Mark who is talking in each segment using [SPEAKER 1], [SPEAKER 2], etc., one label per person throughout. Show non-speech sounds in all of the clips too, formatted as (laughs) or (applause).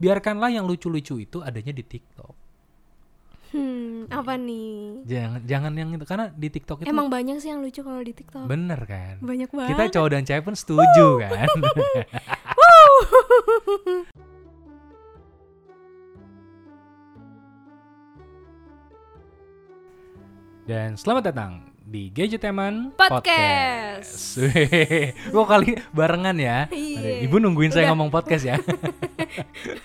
[SPEAKER 1] biarkanlah yang lucu-lucu itu adanya di TikTok.
[SPEAKER 2] Hmm, apa nih?
[SPEAKER 1] Jangan jangan yang itu karena di TikTok itu
[SPEAKER 2] Emang banyak sih yang lucu kalau di TikTok.
[SPEAKER 1] bener kan.
[SPEAKER 2] Banyak banget.
[SPEAKER 1] Kita cowok dan cewek pun setuju
[SPEAKER 2] (laughs)
[SPEAKER 1] kan. Dan selamat datang di Gadgeteman
[SPEAKER 2] Podcast.
[SPEAKER 1] (laughs) Gue kali barengan ya.
[SPEAKER 2] Iya.
[SPEAKER 1] Ibu nungguin saya
[SPEAKER 2] Udah.
[SPEAKER 1] ngomong podcast
[SPEAKER 2] (laughs)
[SPEAKER 1] ya.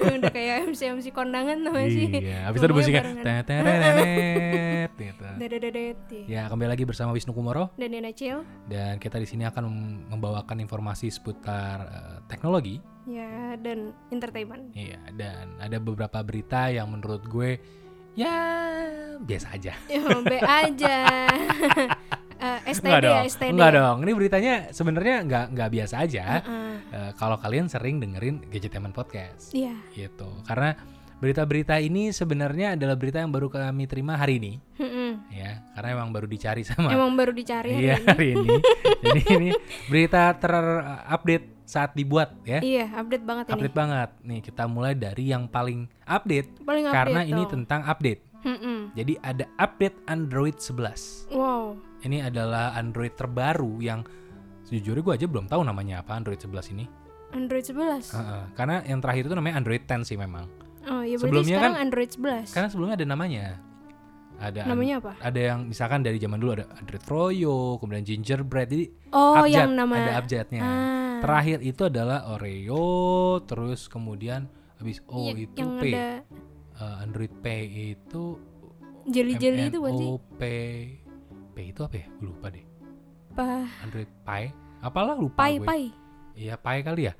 [SPEAKER 2] Udah kayak MC MC kondangan namanya sih.
[SPEAKER 1] iya. Abis itu ada
[SPEAKER 2] Ngomongnya
[SPEAKER 1] musiknya.
[SPEAKER 2] barengan.
[SPEAKER 1] teterenet,
[SPEAKER 2] (laughs)
[SPEAKER 1] gitu.
[SPEAKER 2] Dadadadadeti.
[SPEAKER 1] Ya kembali lagi bersama Wisnu Kumoro
[SPEAKER 2] Dan Nena Cil.
[SPEAKER 1] dan kita di sini akan mem- membawakan informasi seputar eh, teknologi.
[SPEAKER 2] Ya, dan entertainment.
[SPEAKER 1] Iya. Dan ada beberapa berita yang menurut gue ya biasa aja.
[SPEAKER 2] Ya, B aja. Eh, STD
[SPEAKER 1] Enggak
[SPEAKER 2] ya,
[SPEAKER 1] dong.
[SPEAKER 2] STD.
[SPEAKER 1] Enggak dong. Ini beritanya sebenarnya nggak nggak biasa aja.
[SPEAKER 2] Heeh.
[SPEAKER 1] Eh, kalau kalian sering dengerin Gadgetemen Podcast
[SPEAKER 2] Iya.
[SPEAKER 1] gitu. Karena berita-berita ini sebenarnya adalah berita yang baru kami terima hari ini
[SPEAKER 2] Mm-mm.
[SPEAKER 1] ya. Karena emang baru dicari sama
[SPEAKER 2] Emang baru dicari hari
[SPEAKER 1] Iya
[SPEAKER 2] ini.
[SPEAKER 1] hari ini. Jadi ini berita terupdate saat dibuat ya.
[SPEAKER 2] Iya, update banget ini.
[SPEAKER 1] Update banget. Nih kita mulai dari yang paling update
[SPEAKER 2] Paling update
[SPEAKER 1] karena ini
[SPEAKER 2] dong.
[SPEAKER 1] tentang update.
[SPEAKER 2] Mm-mm.
[SPEAKER 1] Jadi ada update Android 11.
[SPEAKER 2] Wow.
[SPEAKER 1] Ini adalah Android terbaru yang sejujurnya gue aja belum tahu namanya apa Android 11 ini.
[SPEAKER 2] Android 11.
[SPEAKER 1] Heeh, karena yang terakhir itu namanya Android 10 sih memang.
[SPEAKER 2] Oh, ya berarti
[SPEAKER 1] Sebelumnya
[SPEAKER 2] sekarang
[SPEAKER 1] kan-
[SPEAKER 2] Android 11.
[SPEAKER 1] Karena sebelumnya ada namanya. Ada an-
[SPEAKER 2] Namanya apa?
[SPEAKER 1] ada yang misalkan dari zaman dulu ada Android Froyo, kemudian Gingerbread. Jadi
[SPEAKER 2] Oh,
[SPEAKER 1] abjad,
[SPEAKER 2] yang nama
[SPEAKER 1] ada abjadnya.
[SPEAKER 2] Ah.
[SPEAKER 1] Terakhir itu adalah Oreo, terus kemudian habis O
[SPEAKER 2] Iya,
[SPEAKER 1] oh, itu
[SPEAKER 2] yang
[SPEAKER 1] P.
[SPEAKER 2] ada
[SPEAKER 1] Eh, Android P itu
[SPEAKER 2] jeli-jeli itu bukan sih?
[SPEAKER 1] MNOP. P itu apa ya? Gue lupa deh.
[SPEAKER 2] Pa,
[SPEAKER 1] Android Pie. Apalah lupa
[SPEAKER 2] pai
[SPEAKER 1] Ah, gue. (laughs)
[SPEAKER 2] pai.
[SPEAKER 1] Iya, Pie kali ya.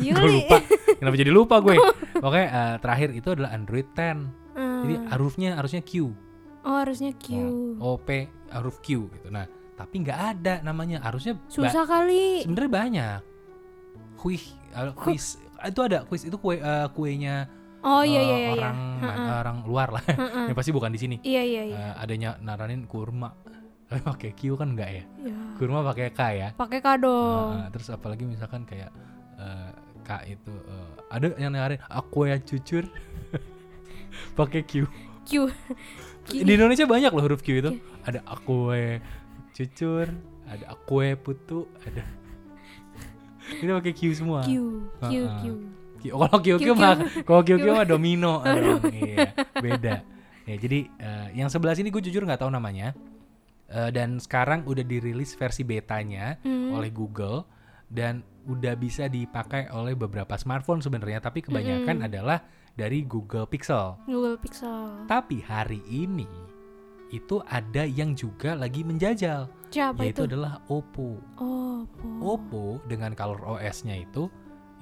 [SPEAKER 2] Iya
[SPEAKER 1] (laughs) gue
[SPEAKER 2] kali.
[SPEAKER 1] lupa. Kenapa jadi lupa
[SPEAKER 2] (laughs)
[SPEAKER 1] gue? Oke, eh, terakhir itu adalah Android 10.
[SPEAKER 2] Ah.
[SPEAKER 1] Jadi harusnya harusnya Q.
[SPEAKER 2] oh, harusnya Q.
[SPEAKER 1] Oh, OP huruf Q gitu. Nah, tapi nggak ada namanya. Harusnya ba-
[SPEAKER 2] Susah kali.
[SPEAKER 1] sebenarnya banyak kuih uh, kuis itu ada kuis itu kue eh, kuenya
[SPEAKER 2] Oh iya
[SPEAKER 1] eh,
[SPEAKER 2] iya iya.
[SPEAKER 1] orang man- orang luar lah
[SPEAKER 2] Heeh.
[SPEAKER 1] (laughs) yang pasti bukan di sini
[SPEAKER 2] Iya iya iya.
[SPEAKER 1] Eh, adanya naranin kurma (laughs) tapi pakai Q kan enggak ya
[SPEAKER 2] Ya.
[SPEAKER 1] kurma pakai K ya
[SPEAKER 2] Pakai kado.
[SPEAKER 1] Nah, terus apalagi misalkan kayak eh, K itu eh, ada yang naranin aku yang cucur (laughs) pakai Q
[SPEAKER 2] Q.
[SPEAKER 1] di Indonesia banyak loh huruf Q itu ada akue cucur ada akue putu ada (laughs) itu pakai Q semua
[SPEAKER 2] (laughs) Q Q
[SPEAKER 1] Heeh.
[SPEAKER 2] Q.
[SPEAKER 1] Ki- oh, Kalau Kyokyo
[SPEAKER 2] Kyokyo.
[SPEAKER 1] mah kalau Kyokyo mah (laughs) domino dong. Iya, beda. Ya, jadi eh, yang sebelah sini gue jujur nggak tahu namanya. Eh, dan sekarang udah dirilis versi betanya
[SPEAKER 2] Hmm.
[SPEAKER 1] oleh Google dan udah bisa dipakai oleh beberapa smartphone sebenarnya, tapi kebanyakan
[SPEAKER 2] Mm-mm.
[SPEAKER 1] adalah dari Google Pixel.
[SPEAKER 2] Google Pixel.
[SPEAKER 1] Tapi hari ini itu ada yang juga lagi menjajal,
[SPEAKER 2] Siapa
[SPEAKER 1] yaitu
[SPEAKER 2] itu?
[SPEAKER 1] adalah Oppo.
[SPEAKER 2] Oh, Oppo.
[SPEAKER 1] Oppo dengan color OS-nya itu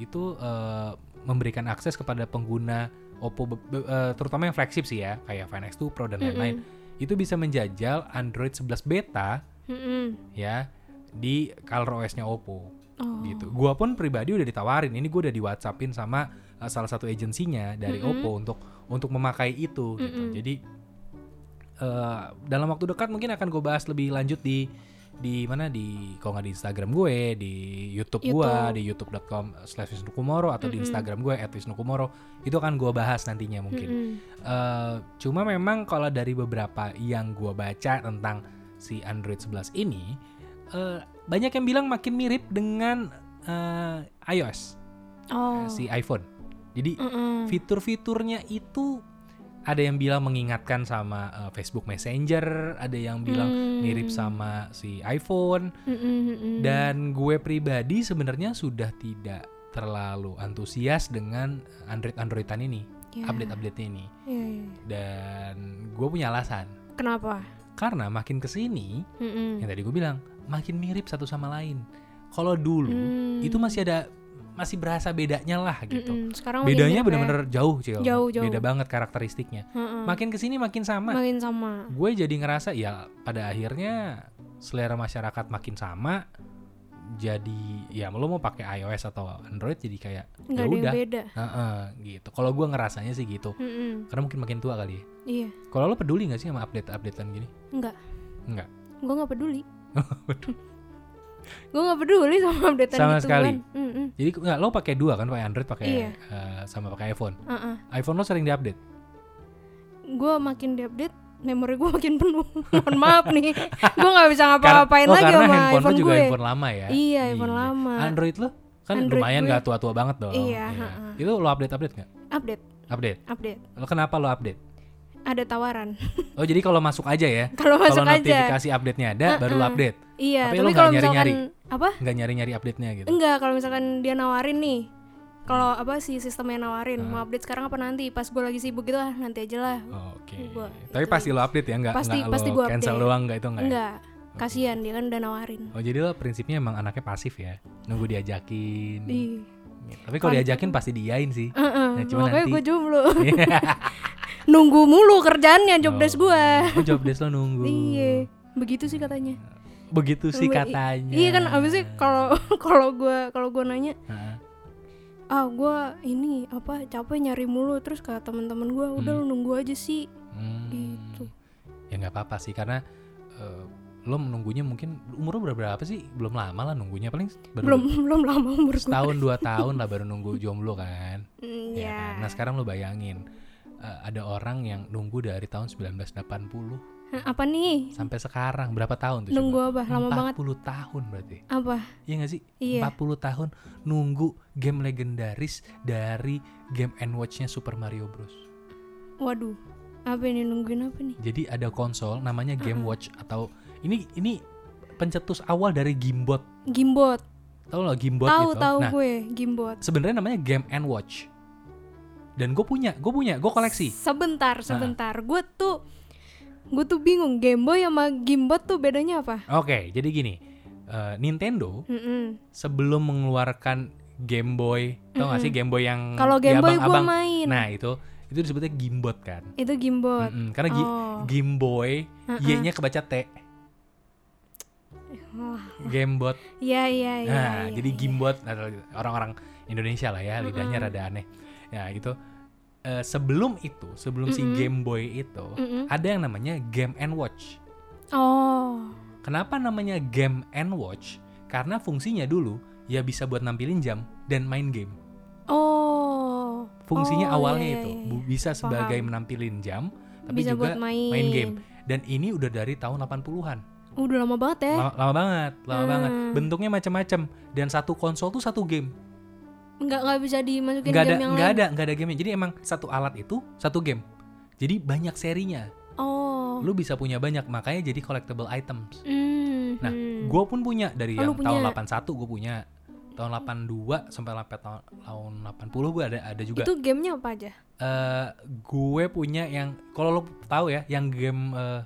[SPEAKER 1] itu eh, memberikan akses kepada pengguna Oppo be- be- eh, terutama yang flagship sih ya kayak Find X2 Pro dan lain-lain itu bisa menjajal Android 11 beta
[SPEAKER 2] Mm-mm.
[SPEAKER 1] ya di color OS-nya Oppo
[SPEAKER 2] Oh.
[SPEAKER 1] gitu. Gua pun pribadi udah ditawarin ini gua udah di WhatsAppin sama eh, salah satu agensinya dari
[SPEAKER 2] Mm-mm.
[SPEAKER 1] Oppo untuk untuk memakai itu gitu.
[SPEAKER 2] Mm-mm.
[SPEAKER 1] Jadi eh, dalam waktu dekat mungkin akan gue bahas lebih lanjut di di mana di kalau nggak di Instagram gue, di YouTube, gua
[SPEAKER 2] YouTube.
[SPEAKER 1] di youtube.com slash wisnukumoro atau di
[SPEAKER 2] Mm-mm.
[SPEAKER 1] Instagram gue at wisnukumoro itu akan gua bahas nantinya mungkin.
[SPEAKER 2] Mm-mm.
[SPEAKER 1] Eh, cuma memang kalau dari beberapa yang gua baca tentang si Android 11 ini eh, banyak yang bilang makin mirip dengan eh, iOS
[SPEAKER 2] Oh.
[SPEAKER 1] Eh, si iPhone. Jadi
[SPEAKER 2] Mm-mm.
[SPEAKER 1] fitur-fiturnya itu ada yang bilang mengingatkan sama eh, Facebook Messenger, ada yang bilang
[SPEAKER 2] Mm.
[SPEAKER 1] mirip sama si iPhone
[SPEAKER 2] Mm-mm, mm-mm.
[SPEAKER 1] dan gue pribadi sebenarnya sudah tidak terlalu antusias dengan Android-Androidan ini,
[SPEAKER 2] Ya,
[SPEAKER 1] update-update ini
[SPEAKER 2] ya, ya.
[SPEAKER 1] dan gue punya alasan
[SPEAKER 2] Kenapa?
[SPEAKER 1] karena makin kesini
[SPEAKER 2] Mm-mm.
[SPEAKER 1] yang tadi gue bilang makin mirip satu sama lain kalau dulu
[SPEAKER 2] Mm.
[SPEAKER 1] itu masih ada masih berasa bedanya lah gitu
[SPEAKER 2] Mm-mm. Hmm, Sekarang makin
[SPEAKER 1] bedanya
[SPEAKER 2] mirip ya.
[SPEAKER 1] bener-bener jauh Cil.
[SPEAKER 2] Jauh, jauh. Hmm.
[SPEAKER 1] beda banget karakteristiknya
[SPEAKER 2] Heeh.
[SPEAKER 1] makin kesini makin sama
[SPEAKER 2] makin sama.
[SPEAKER 1] gue jadi ngerasa ya pada akhirnya selera masyarakat makin sama jadi ya lo mau pakai iOS atau Android jadi kayak ya
[SPEAKER 2] Nggak ada
[SPEAKER 1] udah
[SPEAKER 2] yang beda.
[SPEAKER 1] heeh, gitu kalau gue ngerasanya sih gitu
[SPEAKER 2] Mm-mm.
[SPEAKER 1] karena mungkin makin tua kali ya
[SPEAKER 2] Iya,
[SPEAKER 1] kalau lo peduli nggak Oh, sih sama update-updatean gini
[SPEAKER 2] enggak.
[SPEAKER 1] (laughs) Enggak.
[SPEAKER 2] Gue nggak peduli. Gue nggak peduli sama updatean gitu, kan? Hmm,
[SPEAKER 1] Sama
[SPEAKER 2] gituan.
[SPEAKER 1] sekali.
[SPEAKER 2] Mm-mm.
[SPEAKER 1] Jadi nggak lo pakai dua kan pakai Android pakai
[SPEAKER 2] Iya.
[SPEAKER 1] eh, sama pakai iPhone.
[SPEAKER 2] Uh-uh.
[SPEAKER 1] iPhone lo sering diupdate.
[SPEAKER 2] Gue makin diupdate memori gue makin penuh. (laughs) Mohon maaf nih, gue nggak bisa ngapa-ngapain
[SPEAKER 1] Karena- oh,
[SPEAKER 2] lagi
[SPEAKER 1] karena
[SPEAKER 2] sama
[SPEAKER 1] handphone,
[SPEAKER 2] iPhone
[SPEAKER 1] lo juga
[SPEAKER 2] gue.
[SPEAKER 1] handphone lama ya.
[SPEAKER 2] Iya, iPhone lama.
[SPEAKER 1] Android lo kan
[SPEAKER 2] Android
[SPEAKER 1] lumayan
[SPEAKER 2] gue-
[SPEAKER 1] nggak tua-tua banget dong.
[SPEAKER 2] Iya,
[SPEAKER 1] Iya.
[SPEAKER 2] ha-ha.
[SPEAKER 1] Itu lo update update nggak?
[SPEAKER 2] Update,
[SPEAKER 1] Update.
[SPEAKER 2] update.
[SPEAKER 1] Lo kenapa lo update?
[SPEAKER 2] Ada tawaran. (laughs)
[SPEAKER 1] Oh jadi kalau masuk aja ya. Kalau
[SPEAKER 2] Kalau masuk aja.
[SPEAKER 1] notifikasi update-nya ada, baru lo update.
[SPEAKER 2] Iya,
[SPEAKER 1] Tapi
[SPEAKER 2] tapi,
[SPEAKER 1] lo nggak
[SPEAKER 2] kalau
[SPEAKER 1] nyari-nyari?
[SPEAKER 2] misalkan apa?
[SPEAKER 1] Nggak nyari-nyari update-nya gitu.
[SPEAKER 2] Enggak, kalau misalkan dia nawarin nih. Kalau apa sih sistemnya nawarin, mau
[SPEAKER 1] Ah.
[SPEAKER 2] update sekarang apa nanti? Pas gue lagi sibuk gitu ah, nanti aja lah.
[SPEAKER 1] Oke.
[SPEAKER 2] Gua-
[SPEAKER 1] Tapi
[SPEAKER 2] itu-
[SPEAKER 1] pasti lo update ya nggak?
[SPEAKER 2] Pasti-
[SPEAKER 1] nggak
[SPEAKER 2] pasti
[SPEAKER 1] lo
[SPEAKER 2] gua
[SPEAKER 1] cancel
[SPEAKER 2] update.
[SPEAKER 1] doang nggak itu nggak? ya?
[SPEAKER 2] Enggak, kasihan dia kan udah nawarin.
[SPEAKER 1] Oh jadi lo prinsipnya emang anaknya pasif ya, nunggu diajakin.
[SPEAKER 2] Ih.
[SPEAKER 1] Tapi kalau diajakin pasti diain sih.
[SPEAKER 2] Iya. Kan. Heeh,
[SPEAKER 1] Nah, cuma
[SPEAKER 2] makanya
[SPEAKER 1] nanti- Iya.
[SPEAKER 2] gue
[SPEAKER 1] (laughs)
[SPEAKER 2] jomblo. Nunggu mulu kerjaannya jobdesk
[SPEAKER 1] Oh.
[SPEAKER 2] gue.
[SPEAKER 1] Oh job desk lo nunggu.
[SPEAKER 2] Iya, begitu sih katanya.
[SPEAKER 1] Begitu sih
[SPEAKER 2] Nunggu- i-
[SPEAKER 1] katanya.
[SPEAKER 2] Iya kan abis itu kalau (laughs) kalau gue kalau gue nanya,
[SPEAKER 1] Heeh.
[SPEAKER 2] ah gue ini apa capek nyari mulu terus ke teman-teman gue udah lu nunggu aja sih
[SPEAKER 1] Hmm.
[SPEAKER 2] Gitu.
[SPEAKER 1] Ya nggak apa-apa sih karena eh, lo menunggunya mungkin umur lo berapa sih? Belum lama lah nunggunya paling baru
[SPEAKER 2] belum belum (laughs) lama umur gue.
[SPEAKER 1] setahun dua tahun lah baru nunggu jomblo kan. Ya
[SPEAKER 2] Mm, ya.
[SPEAKER 1] kan? Nah sekarang lo bayangin eh, ada orang yang nunggu dari tahun 1980
[SPEAKER 2] Hah, apa nih?
[SPEAKER 1] sampai sekarang berapa tahun tuh?
[SPEAKER 2] Nunggu apa? Lama banget.
[SPEAKER 1] 40 tahun berarti.
[SPEAKER 2] Apa?
[SPEAKER 1] Iya gak sih?
[SPEAKER 2] Iya.
[SPEAKER 1] 40 tahun nunggu game legendaris dari game and watch-nya Super Mario Bros.
[SPEAKER 2] Waduh. Apa ini nungguin apa nih?
[SPEAKER 1] Jadi ada konsol namanya Game Watch atau ini ini pencetus awal dari Gimbot.
[SPEAKER 2] Gimbot.
[SPEAKER 1] Tahu lo Gimbot
[SPEAKER 2] Tahu
[SPEAKER 1] itu?
[SPEAKER 2] tahu
[SPEAKER 1] nah,
[SPEAKER 2] gue gimbot.
[SPEAKER 1] sebenarnya namanya Game and Watch. Dan gue punya, gue punya, gue koleksi. Nah.
[SPEAKER 2] Sebentar, sebentar. Gue tuh gue tuh bingung Game Boy sama Gimbot tuh bedanya apa?
[SPEAKER 1] Oke, jadi gini. eh, Nintendo
[SPEAKER 2] Mm-mm.
[SPEAKER 1] Hmm. sebelum mengeluarkan Game Boy, tau gak sih Game Boy yang
[SPEAKER 2] Kalau
[SPEAKER 1] di
[SPEAKER 2] Game Boy gue
[SPEAKER 1] abang-abang?
[SPEAKER 2] main.
[SPEAKER 1] Ya, Nah, itu itu disebutnya Gimbot kan.
[SPEAKER 2] Itu Gimbot.
[SPEAKER 1] Mm-mm, karena gi-
[SPEAKER 2] Oh.
[SPEAKER 1] Game Boy, Y-nya kebaca T.
[SPEAKER 2] Wah.
[SPEAKER 1] Gamebot.
[SPEAKER 2] Iya, iya, iya.
[SPEAKER 1] Nah,
[SPEAKER 2] iya,
[SPEAKER 1] jadi
[SPEAKER 2] iya.
[SPEAKER 1] Gimbot atau orang-orang Indonesia lah ya, lidahnya rada aneh. Ya, gitu. Eh, sebelum itu, sebelum si Game Boy itu,
[SPEAKER 2] Mm-mm.
[SPEAKER 1] ada yang namanya Game and Watch. Ah.
[SPEAKER 2] Oh.
[SPEAKER 1] Kenapa namanya Game and Watch? Karena fungsinya dulu ya bisa buat nampilin jam dan main game.
[SPEAKER 2] Oh.
[SPEAKER 1] Fungsinya
[SPEAKER 2] Oh,
[SPEAKER 1] awalnya
[SPEAKER 2] iya,
[SPEAKER 1] itu
[SPEAKER 2] iya,
[SPEAKER 1] bu-
[SPEAKER 2] iya.
[SPEAKER 1] bisa sebagai
[SPEAKER 2] Paham.
[SPEAKER 1] menampilin jam, tapi
[SPEAKER 2] Bisa
[SPEAKER 1] juga
[SPEAKER 2] buat main.
[SPEAKER 1] game. Dan ini udah dari tahun 80-an.
[SPEAKER 2] Udah lama banget ya.
[SPEAKER 1] Lama, lama banget, lama
[SPEAKER 2] Hmm.
[SPEAKER 1] banget. Bentuknya macam-macam dan satu konsol tuh satu game.
[SPEAKER 2] Nggak nggak bisa dimasukin
[SPEAKER 1] Nggak ada
[SPEAKER 2] game yang
[SPEAKER 1] nggak
[SPEAKER 2] lain.
[SPEAKER 1] ada nggak ada gamenya. Jadi emang satu alat itu satu game. Jadi banyak serinya.
[SPEAKER 2] Oh.
[SPEAKER 1] Lu bisa punya banyak makanya jadi collectible items.
[SPEAKER 2] Hmm.
[SPEAKER 1] Nah, Gua pun punya dari yang
[SPEAKER 2] Oh, lu punya.
[SPEAKER 1] tahun 81 gue punya. Tahun 82 sampai sampai tahun, tahun 80 gue ada ada juga.
[SPEAKER 2] Itu gamenya apa aja?
[SPEAKER 1] Eh, gue punya yang kalau lo tahu ya yang game eh,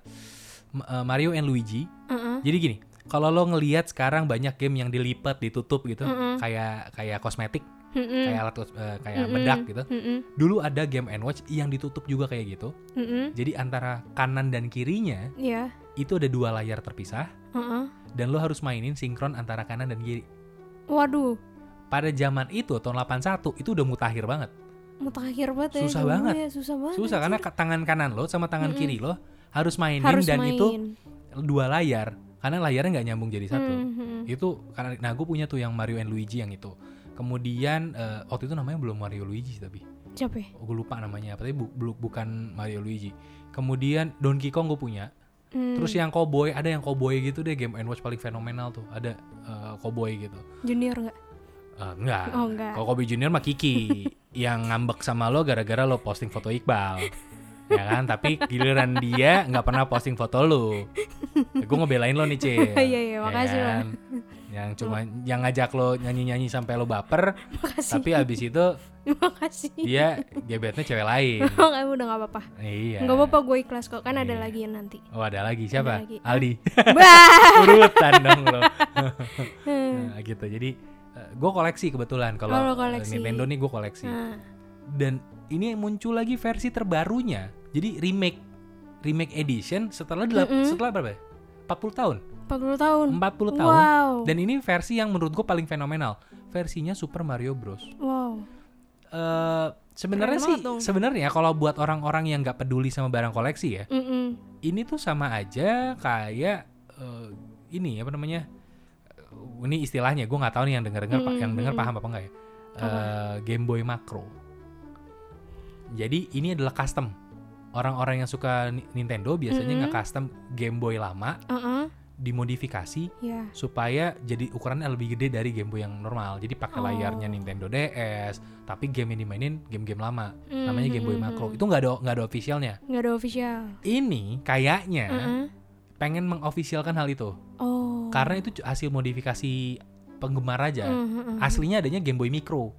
[SPEAKER 1] M- eh, Mario and Luigi.
[SPEAKER 2] Heeh.
[SPEAKER 1] Jadi gini, kalau lo ngelihat sekarang banyak game yang dilipat, ditutup gitu,
[SPEAKER 2] Mm-mm.
[SPEAKER 1] kayak kayak kosmetik,
[SPEAKER 2] Mm-mm.
[SPEAKER 1] kayak alat kos- eh, kayak
[SPEAKER 2] Mm-mm.
[SPEAKER 1] bedak gitu.
[SPEAKER 2] Mm-mm.
[SPEAKER 1] Dulu ada game and watch yang ditutup juga kayak gitu.
[SPEAKER 2] Mm-mm.
[SPEAKER 1] Jadi antara kanan dan kirinya
[SPEAKER 2] Iya.
[SPEAKER 1] itu ada dua layar terpisah
[SPEAKER 2] Heeh.
[SPEAKER 1] dan lo harus mainin sinkron antara kanan dan kiri.
[SPEAKER 2] Waduh,
[SPEAKER 1] Pada zaman itu tahun 81 itu udah mutakhir banget.
[SPEAKER 2] mutakhir banget ya.
[SPEAKER 1] Susah
[SPEAKER 2] dulu
[SPEAKER 1] banget.
[SPEAKER 2] ya, susah banget.
[SPEAKER 1] Susah karena ka- tangan kanan lo sama tangan
[SPEAKER 2] Mm-mm.
[SPEAKER 1] kiri lo harus mainin
[SPEAKER 2] harus
[SPEAKER 1] dan
[SPEAKER 2] main.
[SPEAKER 1] itu dua layar karena layarnya nggak nyambung jadi satu.
[SPEAKER 2] Mm-mm.
[SPEAKER 1] itu karena nah gue punya tuh yang Mario and Luigi yang itu kemudian eh, waktu itu namanya belum Mario Luigi tapi
[SPEAKER 2] Siapa ya?
[SPEAKER 1] gue lupa namanya apa tapi bu- bu- bukan Mario Luigi kemudian Donkey Kong gue punya
[SPEAKER 2] Hmm,
[SPEAKER 1] terus ya. yang Cowboy ada yang Cowboy gitu deh game and watch paling fenomenal tuh ada eh, Cowboy gitu
[SPEAKER 2] junior nggak?
[SPEAKER 1] Eh, enggak
[SPEAKER 2] Oh, enggak.
[SPEAKER 1] kalau Cowboy Junior mah
[SPEAKER 2] (laughs)
[SPEAKER 1] Kiki yang ngambek sama lo gara-gara lo posting foto Iqbal ya kan tapi giliran dia nggak pernah posting foto lo gue ngebelain lo nih Cil
[SPEAKER 2] (laughs) Iya, iya,
[SPEAKER 1] Ya
[SPEAKER 2] makasih, Bang.
[SPEAKER 1] kan? yang cuma yang ngajak lo nyanyi-nyanyi sampai lo baper
[SPEAKER 2] (laughs) Makasih.
[SPEAKER 1] tapi Iya. abis itu
[SPEAKER 2] Makasih. (laughs)
[SPEAKER 1] dia gebetannya cewek lain
[SPEAKER 2] Oh, nggak, udah nggak apa-apa.
[SPEAKER 1] iya
[SPEAKER 2] Nggak apa-apa, gue ikhlas kok. Kan ada
[SPEAKER 1] Iya.
[SPEAKER 2] lagi
[SPEAKER 1] (laughs)
[SPEAKER 2] nanti.
[SPEAKER 1] oh ada lagi siapa
[SPEAKER 2] Ada lagi. (laughs)
[SPEAKER 1] Aldi
[SPEAKER 2] Bah.
[SPEAKER 1] urutan dong lo Nah, gitu jadi gue koleksi kebetulan kalau
[SPEAKER 2] Hmm. Oh, lo
[SPEAKER 1] eh,
[SPEAKER 2] koleksi.
[SPEAKER 1] Nintendo nih gue koleksi
[SPEAKER 2] Nah,
[SPEAKER 1] dan ini yang muncul lagi versi terbarunya jadi remake remake edition setelah delap-
[SPEAKER 2] Mm-mm.
[SPEAKER 1] setelah berapa ya? 40 tahun
[SPEAKER 2] 40 tahun.
[SPEAKER 1] 40 tahun
[SPEAKER 2] Wow.
[SPEAKER 1] dan ini versi yang menurut gue paling fenomenal versinya Super Mario Bros
[SPEAKER 2] Wow.
[SPEAKER 1] Eh, sebenarnya
[SPEAKER 2] Keren
[SPEAKER 1] sih
[SPEAKER 2] banget dong.
[SPEAKER 1] sebenarnya kalau buat orang-orang yang nggak peduli sama barang koleksi ya
[SPEAKER 2] Mm-mm.
[SPEAKER 1] ini tuh sama aja kayak eh, ini apa namanya ini istilahnya gue nggak tahu nih yang denger dengar
[SPEAKER 2] Mm-mm,
[SPEAKER 1] yang denger
[SPEAKER 2] mm-mm.
[SPEAKER 1] paham apa enggak ya Eh, Game Boy Macro jadi ini adalah custom orang-orang yang suka Ni- Nintendo biasanya
[SPEAKER 2] Mm-mm.
[SPEAKER 1] nggak custom Game Boy lama
[SPEAKER 2] Heeh,
[SPEAKER 1] dimodifikasi
[SPEAKER 2] ya.
[SPEAKER 1] supaya jadi ukurannya lebih gede dari Game Boy yang normal jadi pakai
[SPEAKER 2] Oh.
[SPEAKER 1] layarnya Nintendo DS tapi game yang dimainin game-game lama namanya
[SPEAKER 2] Mm,
[SPEAKER 1] Game Boy gitu.
[SPEAKER 2] mm,
[SPEAKER 1] Macro
[SPEAKER 2] mm.
[SPEAKER 1] itu nggak ada nggak ada officialnya
[SPEAKER 2] nggak ada official.
[SPEAKER 1] ini kayaknya
[SPEAKER 2] Heeh.
[SPEAKER 1] pengen mengofisialkan hal itu
[SPEAKER 2] Oh.
[SPEAKER 1] karena itu cu- hasil modifikasi penggemar aja
[SPEAKER 2] Mm, mm, mm.
[SPEAKER 1] aslinya adanya Game Boy Micro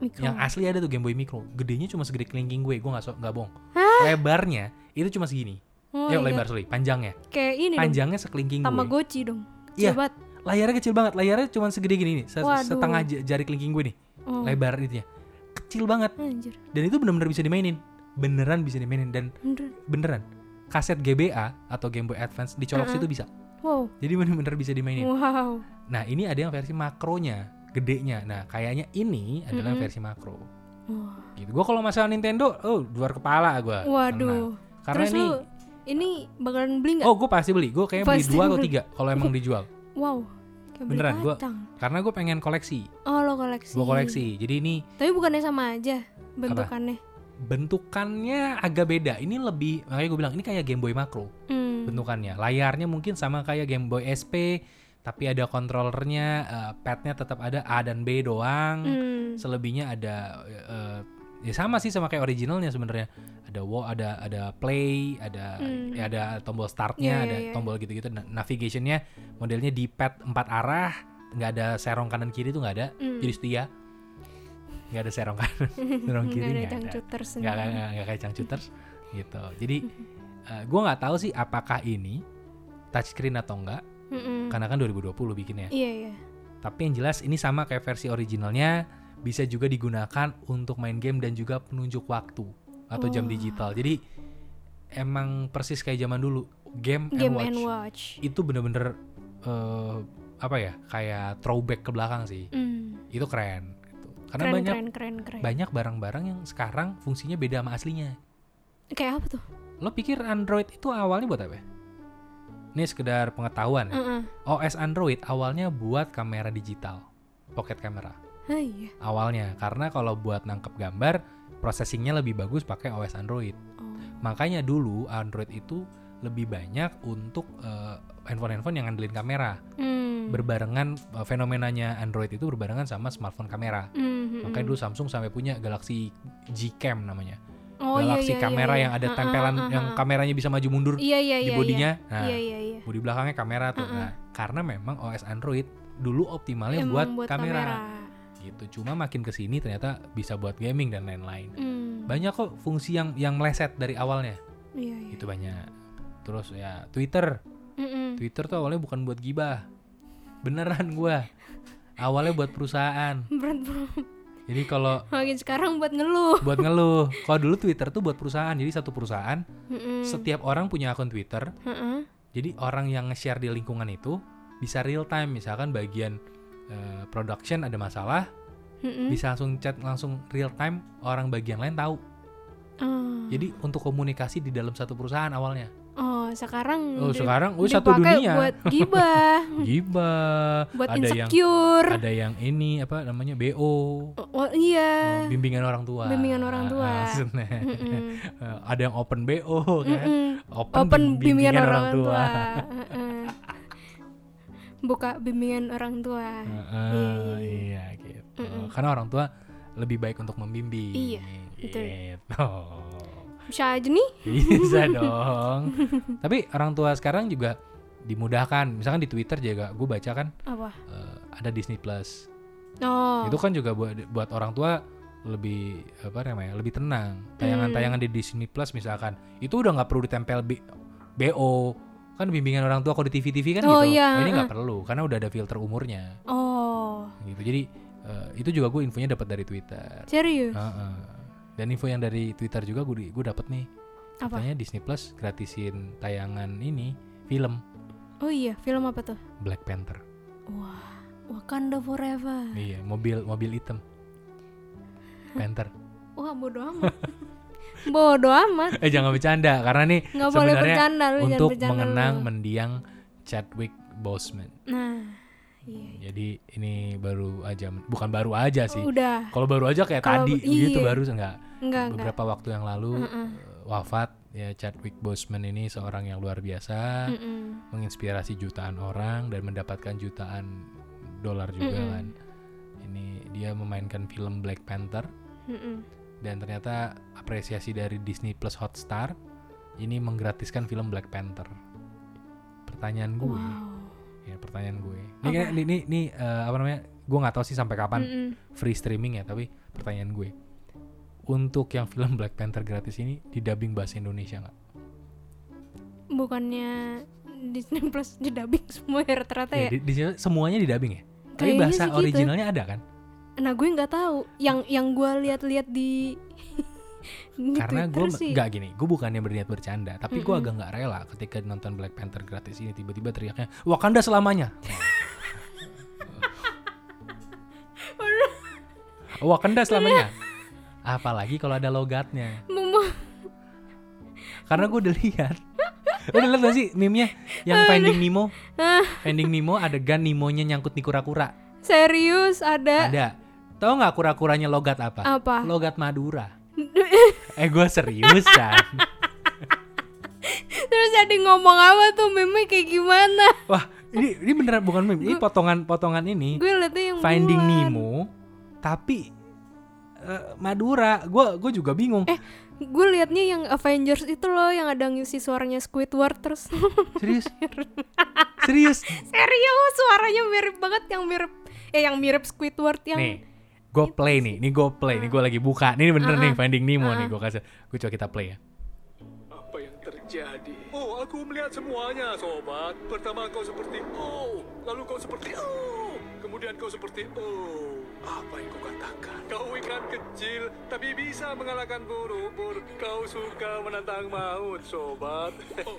[SPEAKER 2] Mikro.
[SPEAKER 1] yang asli ada tuh Game Boy Micro gedenya cuma segede kelingking gue gue nggak so, nggak bohong lebarnya itu cuma segini
[SPEAKER 2] Oh,
[SPEAKER 1] ya
[SPEAKER 2] iya.
[SPEAKER 1] lebar sorry panjangnya
[SPEAKER 2] Kayak ini dong.
[SPEAKER 1] panjangnya sekelingking gue
[SPEAKER 2] Tamagotchi dong.
[SPEAKER 1] Iya.
[SPEAKER 2] Coba.
[SPEAKER 1] layarnya kecil banget layarnya cuma segede gini nih se-
[SPEAKER 2] Waduh.
[SPEAKER 1] setengah j- jari kelingking gue nih
[SPEAKER 2] Oh.
[SPEAKER 1] lebar itunya kecil banget
[SPEAKER 2] Anjir.
[SPEAKER 1] dan itu benar-benar bisa dimainin beneran bisa dimainin dan
[SPEAKER 2] Beneran.
[SPEAKER 1] beneran kaset GBA atau Game Boy Advance dicolok
[SPEAKER 2] Uh-uh.
[SPEAKER 1] situ bisa
[SPEAKER 2] Wow.
[SPEAKER 1] jadi bener-bener bisa dimainin
[SPEAKER 2] Wow.
[SPEAKER 1] Nah, ini ada yang versi makronya, gedenya. Nah, kayaknya ini adalah
[SPEAKER 2] Mm-mm.
[SPEAKER 1] versi makro.
[SPEAKER 2] Wah.
[SPEAKER 1] Gitu. Gue kalau masalah Nintendo, oh, luar kepala gua. Tenang.
[SPEAKER 2] Waduh.
[SPEAKER 1] Karena
[SPEAKER 2] Terus
[SPEAKER 1] ini
[SPEAKER 2] lu ini bakalan beli nggak?
[SPEAKER 1] oh, gue pasti beli. Gue kayaknya beli
[SPEAKER 2] Pasti
[SPEAKER 1] dua atau
[SPEAKER 2] beli.
[SPEAKER 1] tiga kalau
[SPEAKER 2] (laughs)
[SPEAKER 1] emang dijual.
[SPEAKER 2] Wow. Kayak beli
[SPEAKER 1] Beneran, gua-
[SPEAKER 2] batang.
[SPEAKER 1] Karena gue pengen koleksi.
[SPEAKER 2] Oh, lo koleksi.
[SPEAKER 1] Gue koleksi. Jadi ini
[SPEAKER 2] Tapi bukannya sama aja bentukannya.
[SPEAKER 1] bentukannya agak beda. Ini lebih makanya gue bilang ini kayak Game Boy Makro
[SPEAKER 2] Hmm.
[SPEAKER 1] bentukannya. Layarnya mungkin sama kayak Game Boy SP, tapi ada kontrolernya, eh, padnya tetap ada A dan B doang.
[SPEAKER 2] Hmm.
[SPEAKER 1] selebihnya ada eh, ya sama sih sama kayak originalnya sebenarnya ada wo ada ada play ada
[SPEAKER 2] Hmm.
[SPEAKER 1] ya ada tombol
[SPEAKER 2] Iya,
[SPEAKER 1] startnya
[SPEAKER 2] iya,
[SPEAKER 1] ada
[SPEAKER 2] iya.
[SPEAKER 1] tombol gitu-gitu Na- navigationnya modelnya di pad empat arah nggak ada serong kanan kiri tuh nggak ada
[SPEAKER 2] Hmm. (laughs)
[SPEAKER 1] jadi setia nggak ada serong kanan serong
[SPEAKER 2] Nggak
[SPEAKER 1] kiri
[SPEAKER 2] ada
[SPEAKER 1] nggak ada
[SPEAKER 2] cangcuter
[SPEAKER 1] nggak
[SPEAKER 2] sendiri.
[SPEAKER 1] nggak- nggak kayak cangcuters gitu jadi
[SPEAKER 2] Hmm.
[SPEAKER 1] gue nggak tahu sih apakah ini touchscreen atau enggak
[SPEAKER 2] Hmm. Mm-mm.
[SPEAKER 1] karena kan 2020 bikinnya
[SPEAKER 2] Iya iya.
[SPEAKER 1] tapi yang jelas ini sama kayak versi originalnya bisa juga digunakan untuk main game dan juga penunjuk waktu atau jam
[SPEAKER 2] Wah.
[SPEAKER 1] digital. Jadi emang persis kayak zaman dulu game, and
[SPEAKER 2] Game
[SPEAKER 1] watch.
[SPEAKER 2] and watch.
[SPEAKER 1] Itu bener-bener eh, apa ya? Kayak throwback ke belakang sih.
[SPEAKER 2] Hmm.
[SPEAKER 1] Itu keren. gitu. Karena
[SPEAKER 2] Keren,
[SPEAKER 1] banyak
[SPEAKER 2] keren keren keren.
[SPEAKER 1] banyak barang-barang yang sekarang fungsinya beda sama aslinya.
[SPEAKER 2] Kayak apa tuh?
[SPEAKER 1] Lo pikir Android itu awalnya buat apa? ya? Ini sekedar pengetahuan. ya.
[SPEAKER 2] Heeh.
[SPEAKER 1] OS Android awalnya buat kamera digital, pocket camera.
[SPEAKER 2] Ah, iya.
[SPEAKER 1] awalnya karena kalau buat nangkep gambar processingnya lebih bagus pakai OS Android
[SPEAKER 2] Oh.
[SPEAKER 1] makanya dulu Android itu lebih banyak untuk eh, handphone-handphone yang ngandelin kamera
[SPEAKER 2] Hmm.
[SPEAKER 1] berbarengan eh, fenomenanya Android itu berbarengan sama smartphone kamera
[SPEAKER 2] Mm-mm.
[SPEAKER 1] makanya dulu Samsung sampai punya Galaxy G Cam namanya
[SPEAKER 2] oh, iya,
[SPEAKER 1] Galaxy
[SPEAKER 2] iya, iya,
[SPEAKER 1] kamera
[SPEAKER 2] iya.
[SPEAKER 1] yang ada
[SPEAKER 2] Ah, ah,
[SPEAKER 1] tempelan
[SPEAKER 2] ah, ah,
[SPEAKER 1] yang
[SPEAKER 2] ah.
[SPEAKER 1] kameranya bisa maju mundur
[SPEAKER 2] Iya iya
[SPEAKER 1] di
[SPEAKER 2] iya.
[SPEAKER 1] bodinya nah
[SPEAKER 2] Iya iya iya.
[SPEAKER 1] bodi belakangnya kamera tuh
[SPEAKER 2] Uh-uh.
[SPEAKER 1] Nah, karena memang OS Android dulu optimalnya
[SPEAKER 2] Emang
[SPEAKER 1] buat, kamera gitu cuma makin kesini ternyata bisa buat gaming dan lain-lain
[SPEAKER 2] Hmm.
[SPEAKER 1] banyak kok fungsi yang yang meleset dari awalnya
[SPEAKER 2] Iya iya.
[SPEAKER 1] itu banyak terus ya Twitter
[SPEAKER 2] Mm-mm.
[SPEAKER 1] Twitter tuh awalnya bukan buat gibah beneran gua awalnya buat perusahaan
[SPEAKER 2] Berat bro.
[SPEAKER 1] jadi kalau
[SPEAKER 2] (laughs) Makin sekarang buat ngeluh.
[SPEAKER 1] buat ngeluh kalau dulu Twitter tuh buat perusahaan jadi satu perusahaan
[SPEAKER 2] Mm-mm.
[SPEAKER 1] setiap orang punya akun Twitter
[SPEAKER 2] Heeh.
[SPEAKER 1] jadi orang yang nge-share di lingkungan itu bisa real time misalkan bagian eh, production ada masalah
[SPEAKER 2] Mm-mm.
[SPEAKER 1] bisa langsung chat langsung real time orang bagian lain tahu
[SPEAKER 2] Ah.
[SPEAKER 1] jadi untuk komunikasi di dalam satu perusahaan awalnya
[SPEAKER 2] Oh sekarang.
[SPEAKER 1] oh
[SPEAKER 2] di-
[SPEAKER 1] sekarang oh satu
[SPEAKER 2] dipakai
[SPEAKER 1] dunia (laughs)
[SPEAKER 2] Buat gibah.
[SPEAKER 1] gibah
[SPEAKER 2] buat
[SPEAKER 1] ada yang
[SPEAKER 2] insecure.
[SPEAKER 1] ada yang ini apa namanya BO
[SPEAKER 2] Oh, oh, iya.
[SPEAKER 1] bimbingan orang tua Ah,
[SPEAKER 2] Bimbingan orang tua. Hmm,
[SPEAKER 1] Maksudnya, (laughs) Eh,
[SPEAKER 2] Mm-mm.
[SPEAKER 1] ada yang open BO kan
[SPEAKER 2] Mm-mm.
[SPEAKER 1] open,
[SPEAKER 2] Hmm, Open bimbingan, orang
[SPEAKER 1] (laughs)
[SPEAKER 2] tua.
[SPEAKER 1] tua,
[SPEAKER 2] Heeh. Buka bimbingan orang tua.
[SPEAKER 1] Heeh,
[SPEAKER 2] Iya, iya,
[SPEAKER 1] iya gitu
[SPEAKER 2] Mm-mm.
[SPEAKER 1] karena orang tua lebih baik untuk membimbing
[SPEAKER 2] Iya, betul.
[SPEAKER 1] gitu
[SPEAKER 2] Bisa aja nih.
[SPEAKER 1] bisa
[SPEAKER 2] (laughs)
[SPEAKER 1] dong tapi orang tua sekarang juga dimudahkan misalkan di Twitter juga gue baca kan
[SPEAKER 2] Apa?
[SPEAKER 1] eh, ada Disney Plus
[SPEAKER 2] Oh.
[SPEAKER 1] itu kan juga buat buat orang tua lebih apa namanya lebih tenang tayangan-tayangan
[SPEAKER 2] Hmm.
[SPEAKER 1] di Disney Plus misalkan itu udah nggak perlu ditempel B- BO kan bimbingan orang tua kalau di TV TV kan
[SPEAKER 2] Oh,
[SPEAKER 1] gitu
[SPEAKER 2] iya,
[SPEAKER 1] Nah, ini nggak perlu karena udah ada filter umurnya
[SPEAKER 2] Oh.
[SPEAKER 1] gitu jadi eh, itu juga gue infonya dapat dari Twitter
[SPEAKER 2] Serius?
[SPEAKER 1] Heeh. dan info yang dari Twitter juga gue di- gue dapat nih
[SPEAKER 2] Apa?
[SPEAKER 1] katanya Disney Plus gratisin tayangan ini film
[SPEAKER 2] Oh iya, film apa tuh?
[SPEAKER 1] Black Panther
[SPEAKER 2] Wah, Wakanda Forever.
[SPEAKER 1] iya mobil mobil hitam Panther
[SPEAKER 2] Wah, bodo amat. (laughs) bodo amat.
[SPEAKER 1] eh jangan bercanda karena nih
[SPEAKER 2] Nggak boleh
[SPEAKER 1] Sebenarnya
[SPEAKER 2] bercanda lu jangan
[SPEAKER 1] untuk
[SPEAKER 2] bercanda
[SPEAKER 1] mengenang
[SPEAKER 2] lu.
[SPEAKER 1] mendiang Chadwick Boseman.
[SPEAKER 2] Nah, iya.
[SPEAKER 1] Jadi ini baru aja, bukan baru aja sih.
[SPEAKER 2] Oh, Udah,
[SPEAKER 1] Kalau baru aja kayak
[SPEAKER 2] Kalau-
[SPEAKER 1] tadi
[SPEAKER 2] iya.
[SPEAKER 1] gitu baru enggak.
[SPEAKER 2] enggak enggak.
[SPEAKER 1] Beberapa waktu yang lalu
[SPEAKER 2] Mm-mm.
[SPEAKER 1] eh, wafat ya Chadwick Boseman ini seorang yang luar biasa,
[SPEAKER 2] Mm-mm.
[SPEAKER 1] menginspirasi jutaan orang dan mendapatkan jutaan dolar juga
[SPEAKER 2] Mm-mm.
[SPEAKER 1] kan. Ini dia memainkan film Black Panther
[SPEAKER 2] Mm-mm.
[SPEAKER 1] dan ternyata apresiasi dari Disney Plus Hotstar ini menggratiskan film Black Panther. Pertanyaan gue,
[SPEAKER 2] Wow.
[SPEAKER 1] ya pertanyaan gue. Ini kayak- ini ini, ini, eh, apa namanya? Gue nggak tahu sih sampai kapan
[SPEAKER 2] Mm-mm.
[SPEAKER 1] free streaming ya, tapi pertanyaan gue. Untuk yang film Black Panther gratis ini didubbing bahasa Indonesia nggak?
[SPEAKER 2] Bukannya Disney Plus didubbing (laughs) semua ya rata-rata
[SPEAKER 1] Ya,
[SPEAKER 2] ya?
[SPEAKER 1] di- di sini semuanya didubbing ya. Tapi
[SPEAKER 2] Kayaknya
[SPEAKER 1] bahasa
[SPEAKER 2] sih gitu.
[SPEAKER 1] originalnya ada kan?
[SPEAKER 2] Nah gue nggak tahu. Yang yang gue lihat-lihat di (laughs) di
[SPEAKER 1] Karena gue
[SPEAKER 2] Twitter sih.
[SPEAKER 1] nggak gini, gue bukannya berniat bercanda, tapi gue
[SPEAKER 2] Mm-mm.
[SPEAKER 1] agak nggak rela ketika nonton Black Panther gratis ini tiba-tiba teriaknya Wakanda
[SPEAKER 2] (laughs)
[SPEAKER 1] selamanya. Wakanda selamanya.
[SPEAKER 2] Iya.
[SPEAKER 1] Apalagi kalau ada logatnya.
[SPEAKER 2] Mem- (laughs)
[SPEAKER 1] Karena gue udah lihat. Lo udah lihat gak sih meme-nya yang Finding Nemo?
[SPEAKER 2] Ah.
[SPEAKER 1] Finding Nemo adegan Nemo-nya nyangkut di kura-kura.
[SPEAKER 2] serius ada
[SPEAKER 1] Ada. Tahu nggak kura-kuranya logat apa?
[SPEAKER 2] Iya. apa?
[SPEAKER 1] Logat Madura.
[SPEAKER 2] (laughs)
[SPEAKER 1] Eh gue seriusan.
[SPEAKER 2] Terus ada ngomong apa tuh meme kayak gimana?
[SPEAKER 1] Wah, ini ini beneran bukan meme. Ini potongan-potongan ini
[SPEAKER 2] Gue liatnya yang
[SPEAKER 1] Finding
[SPEAKER 2] buat.
[SPEAKER 1] Nemo tapi eh, Madura. Gue gue juga bingung.
[SPEAKER 2] Gue liatnya yang Avengers itu loh yang ada ngisi suaranya Squidward terus (laughs)
[SPEAKER 1] Serius? Serius?
[SPEAKER 2] serius suaranya mirip banget yang mirip eh yang mirip Squidward yang
[SPEAKER 1] Nih, gue play nih. Nih gue play. Nih gue lagi buka. Ini bener nih Finding Nemo nih gue kasih. Gue coba kita play ya.
[SPEAKER 3] Apa yang terjadi? Oh, aku melihat semuanya, sobat. Pertama kau seperti oh, lalu kau seperti oh, kemudian kau seperti oh. Apa yang kau katakan? Kau ikan kecil, tapi bisa mengalahkan burung. Kau suka menantang maut, sobat.
[SPEAKER 4] Oh,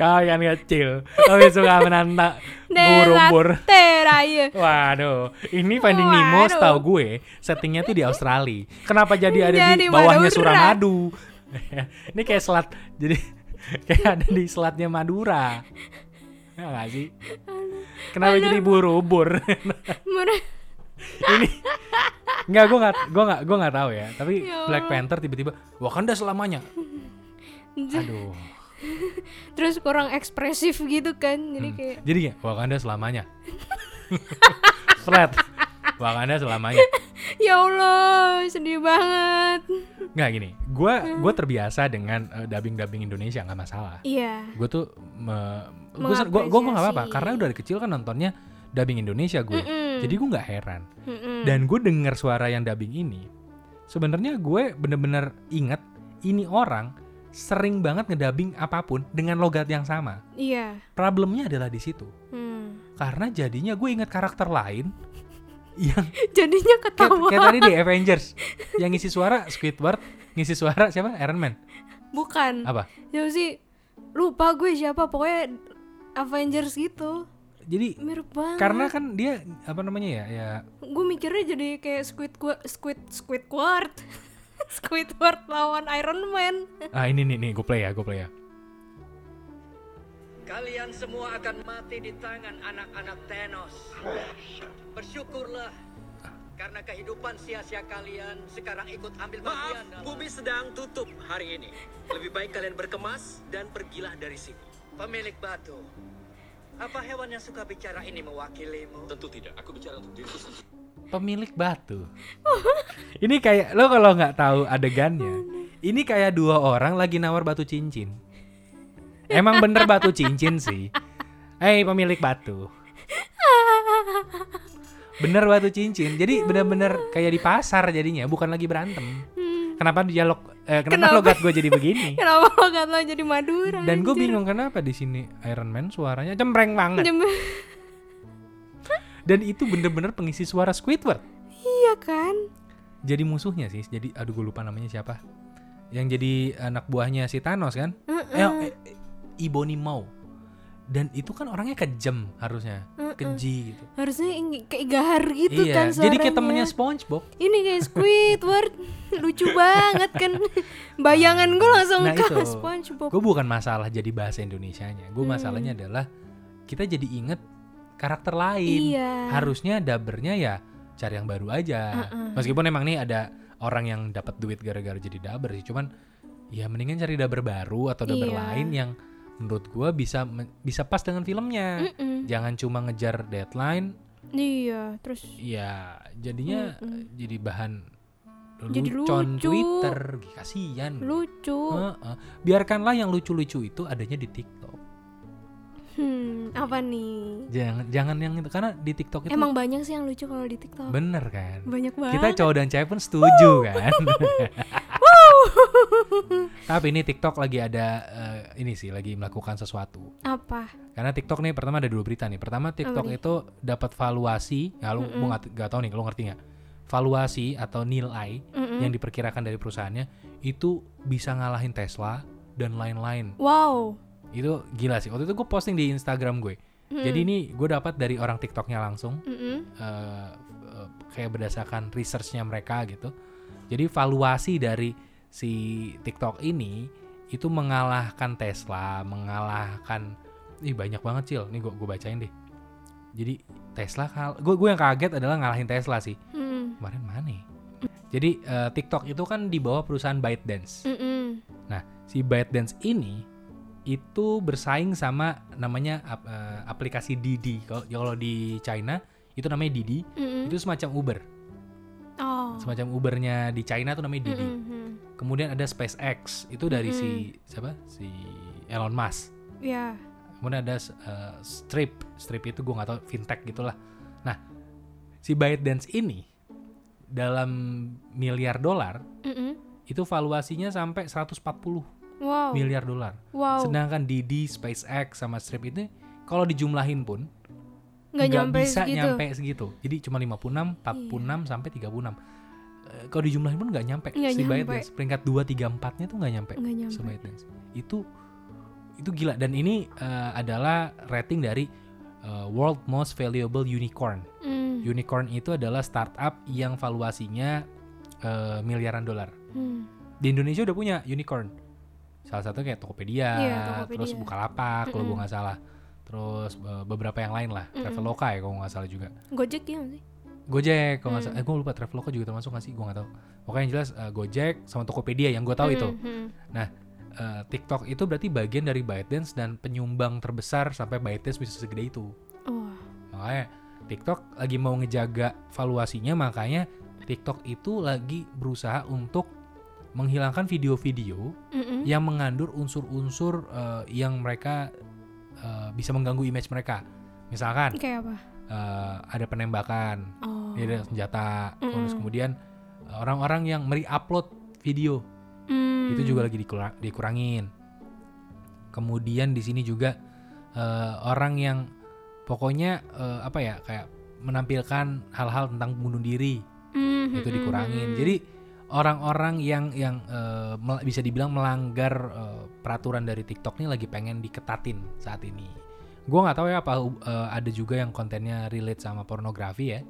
[SPEAKER 1] Kau yang kecil, tapi suka menantang buru-bur.
[SPEAKER 2] Tera iya.
[SPEAKER 1] Waduh, ini Finding Nemo
[SPEAKER 2] Waduh.
[SPEAKER 1] setahu gue settingnya tuh di Australia. Kenapa jadi ada di
[SPEAKER 2] Jadi
[SPEAKER 1] bawahnya
[SPEAKER 2] Iya, Madura.
[SPEAKER 1] Suramadu? (laughs) ini kayak selat, jadi (laughs) kayak ada di selatnya Madura. Ya nggak sih? Kenapa jadi buru-bur?
[SPEAKER 2] Mer-
[SPEAKER 1] (laughs) ini nggak gue nggak gue nggak gue nggak tahu ya. Tapi
[SPEAKER 2] Ya
[SPEAKER 1] Black
[SPEAKER 2] Allah.
[SPEAKER 1] Panther tiba-tiba Wakanda selamanya. Aduh.
[SPEAKER 2] Terus kurang ekspresif gitu kan. Jadi kayak
[SPEAKER 1] Jadi ya Wakanda selamanya. (laughs) Fred. Wakanda selamanya.
[SPEAKER 2] ya Allah, sedih banget.
[SPEAKER 1] Nggak gini, gue
[SPEAKER 2] Hmm.
[SPEAKER 1] gua terbiasa dengan eh, dubbing-dubbing Indonesia nggak masalah.
[SPEAKER 2] Iya.
[SPEAKER 1] Gue tuh gue gue gue nggak apa-apa
[SPEAKER 2] Mengapresiasi.
[SPEAKER 1] karena udah dari kecil kan nontonnya dubbing Indonesia gue,
[SPEAKER 2] Mm-mm. Mm.
[SPEAKER 1] jadi gue nggak heran.
[SPEAKER 2] Mm-mm.
[SPEAKER 1] Dan gue dengar suara yang dubbing ini, sebenarnya gue bener-bener inget ini orang sering banget ngedubbing apapun dengan logat yang sama.
[SPEAKER 2] Iya.
[SPEAKER 1] Problemnya adalah di situ,
[SPEAKER 2] Hmm. (laughs)
[SPEAKER 1] karena jadinya gue inget karakter lain (laughs) yang
[SPEAKER 2] Jadinya
[SPEAKER 1] kayak,
[SPEAKER 2] ketawa.
[SPEAKER 1] kayak tadi di Avengers yang ngisi suara Squidward, ngisi suara siapa Iron Man
[SPEAKER 2] Bukan.
[SPEAKER 1] apa?
[SPEAKER 2] Jauh sih Ya lupa gue siapa pokoknya Avengers gitu.
[SPEAKER 1] Jadi
[SPEAKER 2] Mirip banget.
[SPEAKER 1] karena kan dia apa namanya ya ya
[SPEAKER 2] gue mikirnya jadi kayak squid squid (laughs) Squidward. Squidward lawan Iron Man.
[SPEAKER 1] ah ini nih nih gue play ya gue play ya
[SPEAKER 5] Kalian semua akan mati di tangan anak-anak Thanos. Bersyukurlah karena kehidupan sia-sia kalian sekarang ikut ambil bagian.
[SPEAKER 4] Maaf,
[SPEAKER 5] dalam-
[SPEAKER 4] bumi sedang tutup hari ini. Lebih baik kalian berkemas dan pergilah dari sini.
[SPEAKER 5] Pemilik batu. Apa hewan yang suka bicara ini mewakilimu?
[SPEAKER 4] Tentu tidak. Aku bicara untuk diriku sendiri.
[SPEAKER 1] pemilik batu (laughs) ini kayak lo kalau nggak tahu adegannya ini kayak dua orang lagi nawar batu cincin emang bener batu cincin sih Hei pemilik batu bener batu cincin jadi bener-bener kayak di pasar jadinya bukan lagi berantem kenapa dialog eh,
[SPEAKER 2] Kenapa?
[SPEAKER 1] kenapa, logat gue jadi begini
[SPEAKER 2] Kenapa lo kan lo jadi Madura?
[SPEAKER 1] dan gue
[SPEAKER 2] anjir?
[SPEAKER 1] bingung kenapa di sini Iron Man suaranya cempreng banget
[SPEAKER 2] Jem-
[SPEAKER 1] dan itu bener-bener pengisi suara Squidward
[SPEAKER 2] iya kan?
[SPEAKER 1] jadi musuhnya sih jadi aduh gue lupa namanya siapa yang jadi anak buahnya si Thanos kan Eh, eh, eh, Ebony Maw dan itu kan orangnya kejam harusnya keji gitu
[SPEAKER 2] Harusnya ing- kayak gahar gitu kan
[SPEAKER 1] iya
[SPEAKER 2] suaranya.
[SPEAKER 1] jadi kayak temennya SpongeBob
[SPEAKER 2] Ini kayak Squidward. (laughs) Lucu banget
[SPEAKER 1] (laughs)
[SPEAKER 2] kan. Bayangan gue langsung
[SPEAKER 1] nah
[SPEAKER 2] ke
[SPEAKER 1] itu
[SPEAKER 2] SpongeBob. Mm.
[SPEAKER 1] gue bukan masalah jadi bahasa Indonesianya gue masalahnya adalah kita jadi inget karakter lain.
[SPEAKER 2] Iya.
[SPEAKER 1] Harusnya dabernya ya cari yang baru aja. Meskipun emang nih ada orang yang dapat duit gara-gara jadi daber sih, cuman ya mendingan cari daber baru atau daber
[SPEAKER 2] Iya.
[SPEAKER 1] lain yang menurut gua bisa men- bisa pas dengan filmnya.
[SPEAKER 2] Mm-mm.
[SPEAKER 1] Jangan cuma ngejar deadline,
[SPEAKER 2] Iya, terus
[SPEAKER 1] ya jadinya jadi bahan
[SPEAKER 2] Jadi
[SPEAKER 1] lucon
[SPEAKER 2] lucu.
[SPEAKER 1] Twitter, kasihan.
[SPEAKER 2] lucu.
[SPEAKER 1] Heeh. Biarkanlah yang lucu-lucu itu adanya di TikTok.
[SPEAKER 2] Hmm, apa nih?
[SPEAKER 1] Jangan jangan yang itu karena di TikTok itu
[SPEAKER 2] Emang banyak sih yang lucu kalau di TikTok.
[SPEAKER 1] bener kan.
[SPEAKER 2] banyak
[SPEAKER 1] Kita
[SPEAKER 2] banget.
[SPEAKER 1] cowok dan cewek pun setuju kan. Tapi ini TikTok lagi ada eh, ini sih lagi melakukan sesuatu.
[SPEAKER 2] apa?
[SPEAKER 1] Karena TikTok nih pertama ada dua berita nih. Pertama TikTok
[SPEAKER 2] nih?
[SPEAKER 1] itu dapat valuasi, ya lu gua nggak- nggak tahu nih, lu ngerti nggak? Valuasi atau nilai
[SPEAKER 2] Mm-mm.
[SPEAKER 1] yang diperkirakan dari perusahaannya itu bisa ngalahin Tesla dan lain-lain.
[SPEAKER 2] Wow.
[SPEAKER 1] Itu gila sih. Waktu itu gue posting di Instagram gue. Jadi
[SPEAKER 2] Mm.
[SPEAKER 1] ini gue dapat dari orang TikToknya langsung,
[SPEAKER 2] Mm-mm.
[SPEAKER 1] eh, eh, kayak berdasarkan researchnya mereka gitu. Jadi valuasi dari si TikTok ini itu mengalahkan Tesla, mengalahkan, ih banyak banget cil. Nih gue bacain deh. Jadi Tesla, gue gue yang kaget adalah ngalahin Tesla sih.
[SPEAKER 2] Mm-mm.
[SPEAKER 1] Kemarin mana? ya? Jadi eh, TikTok itu kan di bawah perusahaan ByteDance.
[SPEAKER 2] Mm-mm.
[SPEAKER 1] Nah, si ByteDance ini itu bersaing sama namanya ap- eh, aplikasi Didi. Kalau kalau di China itu namanya Didi.
[SPEAKER 2] Mm-mm.
[SPEAKER 1] Itu semacam Uber.
[SPEAKER 2] Oh.
[SPEAKER 1] Semacam Ubernya di China itu namanya Didi.
[SPEAKER 2] Mm-mm.
[SPEAKER 1] Kemudian ada SpaceX, itu dari si siapa? Si Elon Musk.
[SPEAKER 2] Ya.
[SPEAKER 1] Kemudian ada eh, Strip. Strip itu gue nggak tahu fintech gitulah. Nah, si ByteDance ini dalam miliar dolar
[SPEAKER 2] Mm-mm.
[SPEAKER 1] itu valuasinya sampai 140
[SPEAKER 2] Wow.
[SPEAKER 1] miliar dolar.
[SPEAKER 2] Wow.
[SPEAKER 1] Sedangkan Didi, SpaceX sama Strip itu kalau dijumlahin pun
[SPEAKER 2] Nggak
[SPEAKER 1] nggak
[SPEAKER 2] nyampe
[SPEAKER 1] bisa
[SPEAKER 2] segitu. Iya.
[SPEAKER 1] nyampe segitu. Jadi cuma 56, 46 sampai 36. Eh, Kalau dijumlahin pun nggak nyampe.
[SPEAKER 2] Nggak
[SPEAKER 1] si
[SPEAKER 2] nyampe.
[SPEAKER 1] ByteDance peringkat 2 3 4-nya tuh nggak nyampe.
[SPEAKER 2] Nggak nyampe.
[SPEAKER 1] Si ByteDance. Itu itu gila dan ini eh, adalah rating dari eh, World Most Valuable Unicorn.
[SPEAKER 2] Mm.
[SPEAKER 1] Unicorn itu adalah startup yang valuasinya eh, miliaran dolar
[SPEAKER 2] Mm.
[SPEAKER 1] di Indonesia udah punya unicorn salah satu kayak Tokopedia,
[SPEAKER 2] Iya, Tokopedia.
[SPEAKER 1] terus Bukalapak kalau gue nggak salah terus eh, beberapa yang lain lah Traveloka ya kalau nggak salah juga
[SPEAKER 2] Gojek ya nggak sih?
[SPEAKER 1] Gojek
[SPEAKER 2] Mm.
[SPEAKER 1] kalau nggak salah eh gue lupa Traveloka juga termasuk nggak sih gue nggak tahu pokoknya yang jelas eh, Gojek sama Tokopedia yang gue tahu itu
[SPEAKER 2] Mm-mm.
[SPEAKER 1] nah eh, TikTok itu berarti bagian dari ByteDance dan penyumbang terbesar sampai ByteDance bisa segede itu
[SPEAKER 2] Wah.
[SPEAKER 1] makanya TikTok lagi mau ngejaga valuasinya makanya TikTok itu lagi berusaha untuk menghilangkan video-video
[SPEAKER 2] Mm-mm.
[SPEAKER 1] yang mengandung unsur-unsur eh, yang mereka eh, bisa mengganggu image mereka. Misalkan
[SPEAKER 2] Kayak apa?
[SPEAKER 1] eh, ada penembakan, ya,
[SPEAKER 2] Oh.
[SPEAKER 1] ada senjata, terus
[SPEAKER 2] Mm-mm.
[SPEAKER 1] kemudian eh, orang-orang yang meri-upload video
[SPEAKER 2] Mm.
[SPEAKER 1] itu juga lagi dikura- dikurangin. Kemudian di sini juga eh, orang yang pokoknya eh, apa ya kayak menampilkan hal-hal tentang bunuh diri
[SPEAKER 2] Mm,
[SPEAKER 1] itu
[SPEAKER 2] mm,
[SPEAKER 1] gitu, dikurangin.
[SPEAKER 2] mm,
[SPEAKER 1] Jadi orang-orang yang yang eh, mel- bisa dibilang melanggar eh, peraturan dari TikTok ini lagi pengen diketatin saat ini. Gua nggak tahu ya apa hub- eh, ada juga yang kontennya relate sama pornografi ya.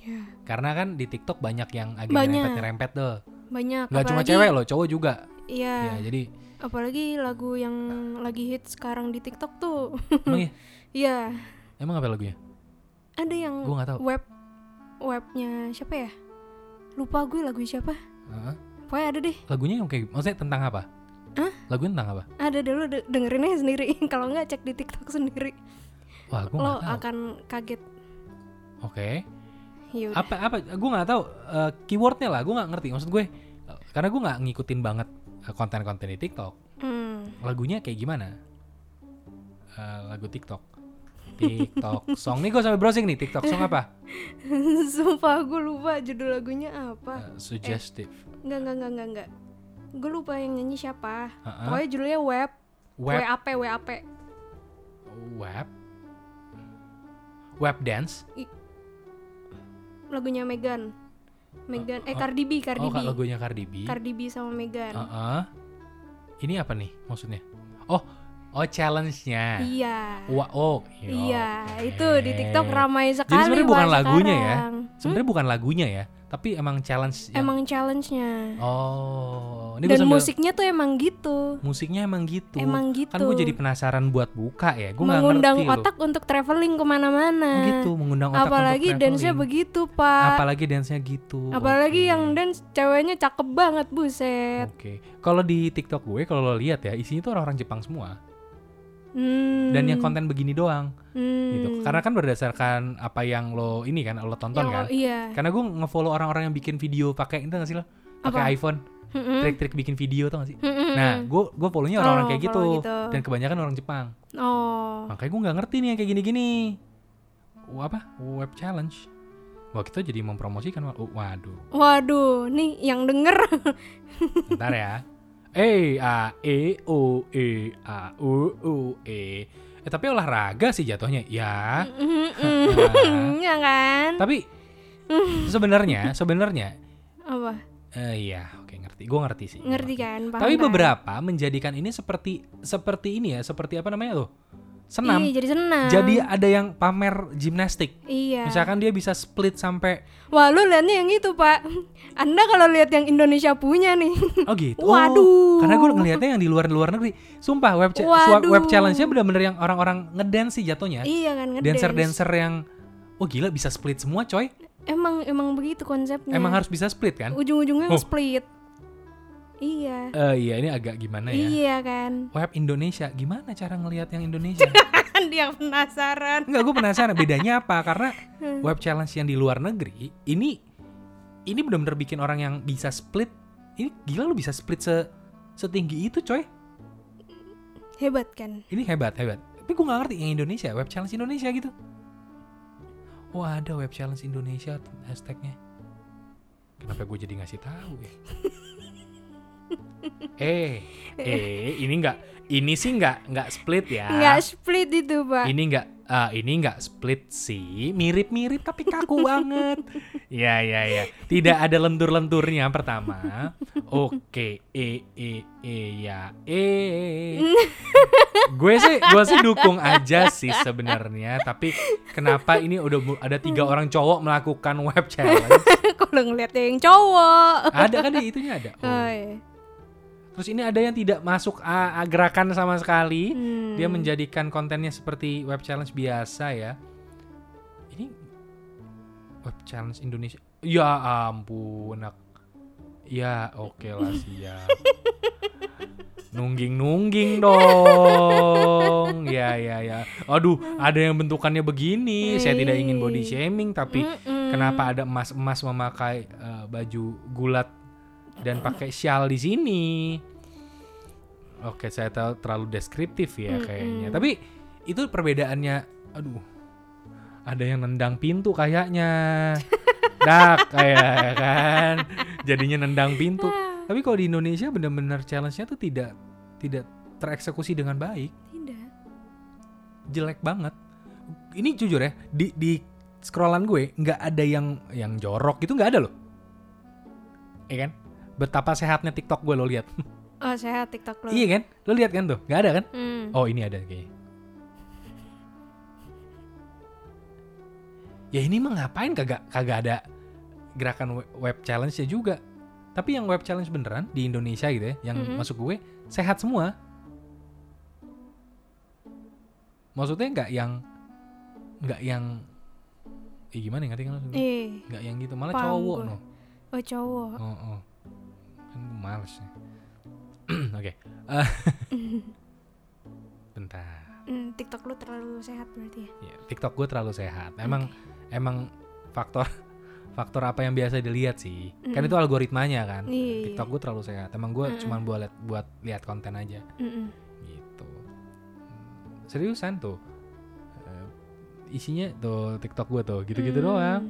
[SPEAKER 2] Ya.
[SPEAKER 1] Karena kan di TikTok banyak yang agak
[SPEAKER 2] Banyak.
[SPEAKER 1] rempet-rempet tuh.
[SPEAKER 2] banyak.
[SPEAKER 1] Nggak cuma
[SPEAKER 2] apalagi-
[SPEAKER 1] cewek loh, cowok juga.
[SPEAKER 2] Iya.
[SPEAKER 1] Ya, jadi
[SPEAKER 2] Apalagi lagu yang lagi hits sekarang di TikTok tuh.
[SPEAKER 1] emang ya,
[SPEAKER 2] Iya.
[SPEAKER 1] emang apa lagunya?
[SPEAKER 2] Ada yang
[SPEAKER 1] Gua
[SPEAKER 2] (laughs)
[SPEAKER 1] nggak tahu.
[SPEAKER 2] web webnya siapa ya? Lupa gue lagu siapa.
[SPEAKER 1] Heeh.
[SPEAKER 2] Pokoknya ada deh.
[SPEAKER 1] Lagunya yang kayak maksudnya tentang apa?
[SPEAKER 2] Hah?
[SPEAKER 1] Lagunya tentang apa?
[SPEAKER 2] Ada dulu de- dengerin aja sendiri. (laughs) Kalau nggak cek di TikTok sendiri.
[SPEAKER 1] Wah, gua
[SPEAKER 2] Lo
[SPEAKER 1] nggak tahu.
[SPEAKER 2] akan kaget.
[SPEAKER 1] Oke.
[SPEAKER 2] Ya udah.
[SPEAKER 1] apa apa gue nggak tahu eh, keywordnya lah gue nggak ngerti maksud gue eh, karena gue nggak ngikutin banget eh, konten-konten di TikTok
[SPEAKER 2] Hmm. (laughs)
[SPEAKER 1] lagunya kayak gimana Eh, lagu TikTok
[SPEAKER 2] (laughs)
[SPEAKER 1] TikTok song nih gue sampai browsing nih TikTok song apa
[SPEAKER 2] Sumpah gue lupa judul lagunya apa.
[SPEAKER 1] Eh, suggestive
[SPEAKER 2] Enggak enggak enggak enggak enggak. Gue lupa yang nyanyi siapa.
[SPEAKER 1] Heeh.
[SPEAKER 2] Pokoknya judulnya web.
[SPEAKER 1] web
[SPEAKER 2] WAP WAP.
[SPEAKER 1] web web dance
[SPEAKER 2] Lagunya Megan. Megan eh Cardi B Cardi
[SPEAKER 1] oh
[SPEAKER 2] B.
[SPEAKER 1] kak lagunya Cardi B
[SPEAKER 2] Cardi B sama Megan.
[SPEAKER 1] Heeh. ini apa nih maksudnya oh oh challenge-nya
[SPEAKER 2] Iya.
[SPEAKER 1] Wah, oh iya,
[SPEAKER 2] Iya,
[SPEAKER 1] oke.
[SPEAKER 2] itu di TikTok ramai sekali.
[SPEAKER 1] Jadi sebenarnya bukan
[SPEAKER 2] Pak,
[SPEAKER 1] lagunya ya.
[SPEAKER 2] sekarang.
[SPEAKER 1] Sebenarnya bukan lagunya ya, Tapi emang challenge yang-
[SPEAKER 2] Emang challenge-nya.
[SPEAKER 1] Oh, ini gua
[SPEAKER 2] Dan
[SPEAKER 1] sambil-
[SPEAKER 2] musiknya tuh emang gitu.
[SPEAKER 1] musiknya emang gitu.
[SPEAKER 2] Emang
[SPEAKER 1] Kan gue
[SPEAKER 2] gitu.
[SPEAKER 1] jadi penasaran buat buka ya. Gue nggak
[SPEAKER 2] mengundang
[SPEAKER 1] ngerti loh.
[SPEAKER 2] otak untuk traveling kemana-mana.
[SPEAKER 1] Oh gitu, mengundang otak
[SPEAKER 2] Apalagi
[SPEAKER 1] untuk
[SPEAKER 2] dance-nya
[SPEAKER 1] traveling.
[SPEAKER 2] begitu, Pak.
[SPEAKER 1] Apalagi dance-nya gitu.
[SPEAKER 2] Apalagi
[SPEAKER 1] Oke.
[SPEAKER 2] yang dance ceweknya cakep banget, buset.
[SPEAKER 1] Oke. Kalau di TikTok gue kalau lo lihat ya, isinya tuh orang-orang Jepang semua. Oh.
[SPEAKER 2] Hmm.
[SPEAKER 1] Dan yang konten begini doang
[SPEAKER 2] hmm.
[SPEAKER 1] gitu. Karena kan berdasarkan apa yang lo ini kan lo tonton
[SPEAKER 2] Yang-
[SPEAKER 1] kan.
[SPEAKER 2] Iya.
[SPEAKER 1] Karena gue ngefollow orang-orang yang bikin video pakai itu nggak sih lo?
[SPEAKER 2] Apa?
[SPEAKER 1] Pakai iPhone,
[SPEAKER 2] Mm-mm.
[SPEAKER 1] trik-trik bikin video tuh nggak sih?
[SPEAKER 2] Mm-mm.
[SPEAKER 1] Nah, gue gue follownya orang-orang
[SPEAKER 2] Oh,
[SPEAKER 1] kayak gitu.
[SPEAKER 2] follow gitu.
[SPEAKER 1] dan kebanyakan orang Jepang.
[SPEAKER 2] Oh.
[SPEAKER 1] Makanya gue nggak ngerti nih yang kayak gini-gini. W- Apa? Web challenge. Wah kita jadi mempromosikan. Wal. Oh, waduh.
[SPEAKER 2] Waduh, nih yang denger (laughs)
[SPEAKER 1] Bentar ya. E A E O E A U U E. Eh, tapi olahraga sih jatuhnya. Ya. (laughs) Nah.
[SPEAKER 2] (laughs) Mm-mm. ya kan? (laughs)
[SPEAKER 1] tapi sebenarnya sebenarnya
[SPEAKER 2] Apa?
[SPEAKER 1] eh iya, oke ngerti. Gue ngerti sih. gua
[SPEAKER 2] Ngerti kan? Paham
[SPEAKER 1] Tapi
[SPEAKER 2] kan?
[SPEAKER 1] beberapa menjadikan ini seperti seperti ini ya, seperti apa namanya tuh?
[SPEAKER 2] Iya,
[SPEAKER 1] Senam.
[SPEAKER 2] jadi senam.
[SPEAKER 1] Jadi ada yang pamer gimnastik.
[SPEAKER 2] Iya.
[SPEAKER 1] Misalkan dia bisa split sampai
[SPEAKER 2] Wah, lu liatnya yang itu, Pak. Anda kalau lihat yang Indonesia punya
[SPEAKER 1] (laughs)
[SPEAKER 2] nih.
[SPEAKER 1] Oh gitu.
[SPEAKER 2] Waduh.
[SPEAKER 1] Karena gue ngelihatnya yang di luar luar negeri. Sumpah web cha- swa-
[SPEAKER 2] Waduh.
[SPEAKER 1] web challenge-nya bener-bener yang orang-orang ngedance sih jatuhnya.
[SPEAKER 2] iya kan, ngedance.
[SPEAKER 1] Dancer-dancer yang Oh gila bisa split semua coy.
[SPEAKER 2] Emang emang begitu konsepnya.
[SPEAKER 1] Emang harus bisa split kan?
[SPEAKER 2] ujung-ujungnya
[SPEAKER 1] Oh.
[SPEAKER 2] split. Iya.
[SPEAKER 1] Eh iya ini agak gimana ya?
[SPEAKER 2] Iya kan.
[SPEAKER 1] Web Indonesia gimana cara ngelihat yang Indonesia?
[SPEAKER 2] (laughs) Kan dia penasaran.
[SPEAKER 1] Enggak gue penasaran bedanya apa karena
[SPEAKER 2] Hmm.
[SPEAKER 1] web challenge yang di luar negeri ini ini bener-bener bikin orang yang bisa split ini gila lu bisa split se setinggi itu coy.
[SPEAKER 2] Hebat kan?
[SPEAKER 1] Ini hebat, hebat. Tapi gue gak ngerti yang Indonesia, web challenge Indonesia gitu. Wah ada web challenge Indonesia hashtagnya. Kenapa gue jadi ngasih tahu ya? eh, eh, ini nggak, ini sih nggak nggak split ya.
[SPEAKER 2] Nggak split itu, Pak.
[SPEAKER 1] Ini nggak, ah, ini nggak split sih. Mirip-mirip tapi kaku banget. Ya, ya, ya. Tidak ada lentur-lenturnya pertama. Oke, e, e, e, ya, e. gue sih, gue sih dukung aja sih sebenarnya. Tapi kenapa ini udah mu- ada tiga orang cowok melakukan web challenge?
[SPEAKER 2] (laughs) kalau ngeliatnya yang cowok.
[SPEAKER 1] Ada kan ya itunya ada. Oh.
[SPEAKER 2] Oh, iya.
[SPEAKER 1] Terus ini ada yang tidak masuk ah, ah, gerakan sama sekali.
[SPEAKER 2] Hmm.
[SPEAKER 1] Dia menjadikan kontennya seperti web challenge biasa ya. Ini web challenge Indonesia. Ya ampun, nak. Ya oke lah siap. Nungging-nungging dong. Ya ya ya. Aduh, ada yang bentukannya begini. Saya tidak ingin body shaming tapi
[SPEAKER 2] Mm-mm.
[SPEAKER 1] kenapa ada emas-emas memakai eh, baju gulat dan pakai shawl di sini? Oke, saya tahu terlalu deskriptif ya kayaknya. Tapi itu perbedaannya, aduh, ada yang nendang pintu kayaknya. Dak kayak ya kan, jadinya nendang pintu. Tapi kalau di Indonesia benar-benar challenge-nya tuh tidak tidak tereksekusi dengan baik
[SPEAKER 2] Tidak.
[SPEAKER 1] jelek banget. Ini jujur ya, di di scrollan gue nggak ada yang yang jorok gitu nggak ada loh. Iya kan? Betapa sehatnya TikTok gue lo lihat.
[SPEAKER 2] Oh, sehat TikTok lo.
[SPEAKER 1] iya kan? Lo lihat kan tuh? Nggak ada kan?
[SPEAKER 2] Hmm.
[SPEAKER 1] Oh ini ada kayaknya. Ya ini mah ngapain kagak kagak ada gerakan we- web challenge-nya juga. Tapi yang web challenge beneran di Indonesia gitu ya, yang
[SPEAKER 2] Mm-mm.
[SPEAKER 1] masuk gue sehat semua. Maksudnya nggak yang nggak yang eh gimana ngerti kan lo?
[SPEAKER 2] Eh,
[SPEAKER 1] Nggak yang gitu, malah
[SPEAKER 2] paham
[SPEAKER 1] cowok
[SPEAKER 2] gue.
[SPEAKER 1] no.
[SPEAKER 2] oh cowok.
[SPEAKER 1] Oh, oh. Kan gue males ya. (clears throat) Oke. Eh (laughs) Bentar.
[SPEAKER 2] Hmm, TikTok lu terlalu sehat berarti ya.
[SPEAKER 1] Ya, TikTok gue terlalu sehat. Emang emang faktor (laughs) faktor apa yang biasa dilihat sih? Kan itu algoritmanya kan.
[SPEAKER 2] Iya,
[SPEAKER 1] TikTok gue terlalu sehat. Emang gue cuman buat liat- buat lihat konten aja
[SPEAKER 2] Mm-mm.
[SPEAKER 1] gitu. Hmm, Seriusan tuh. Eh, Isinya tuh TikTok gue tuh gitu-gitu
[SPEAKER 2] Mm. Hmm,
[SPEAKER 1] doang.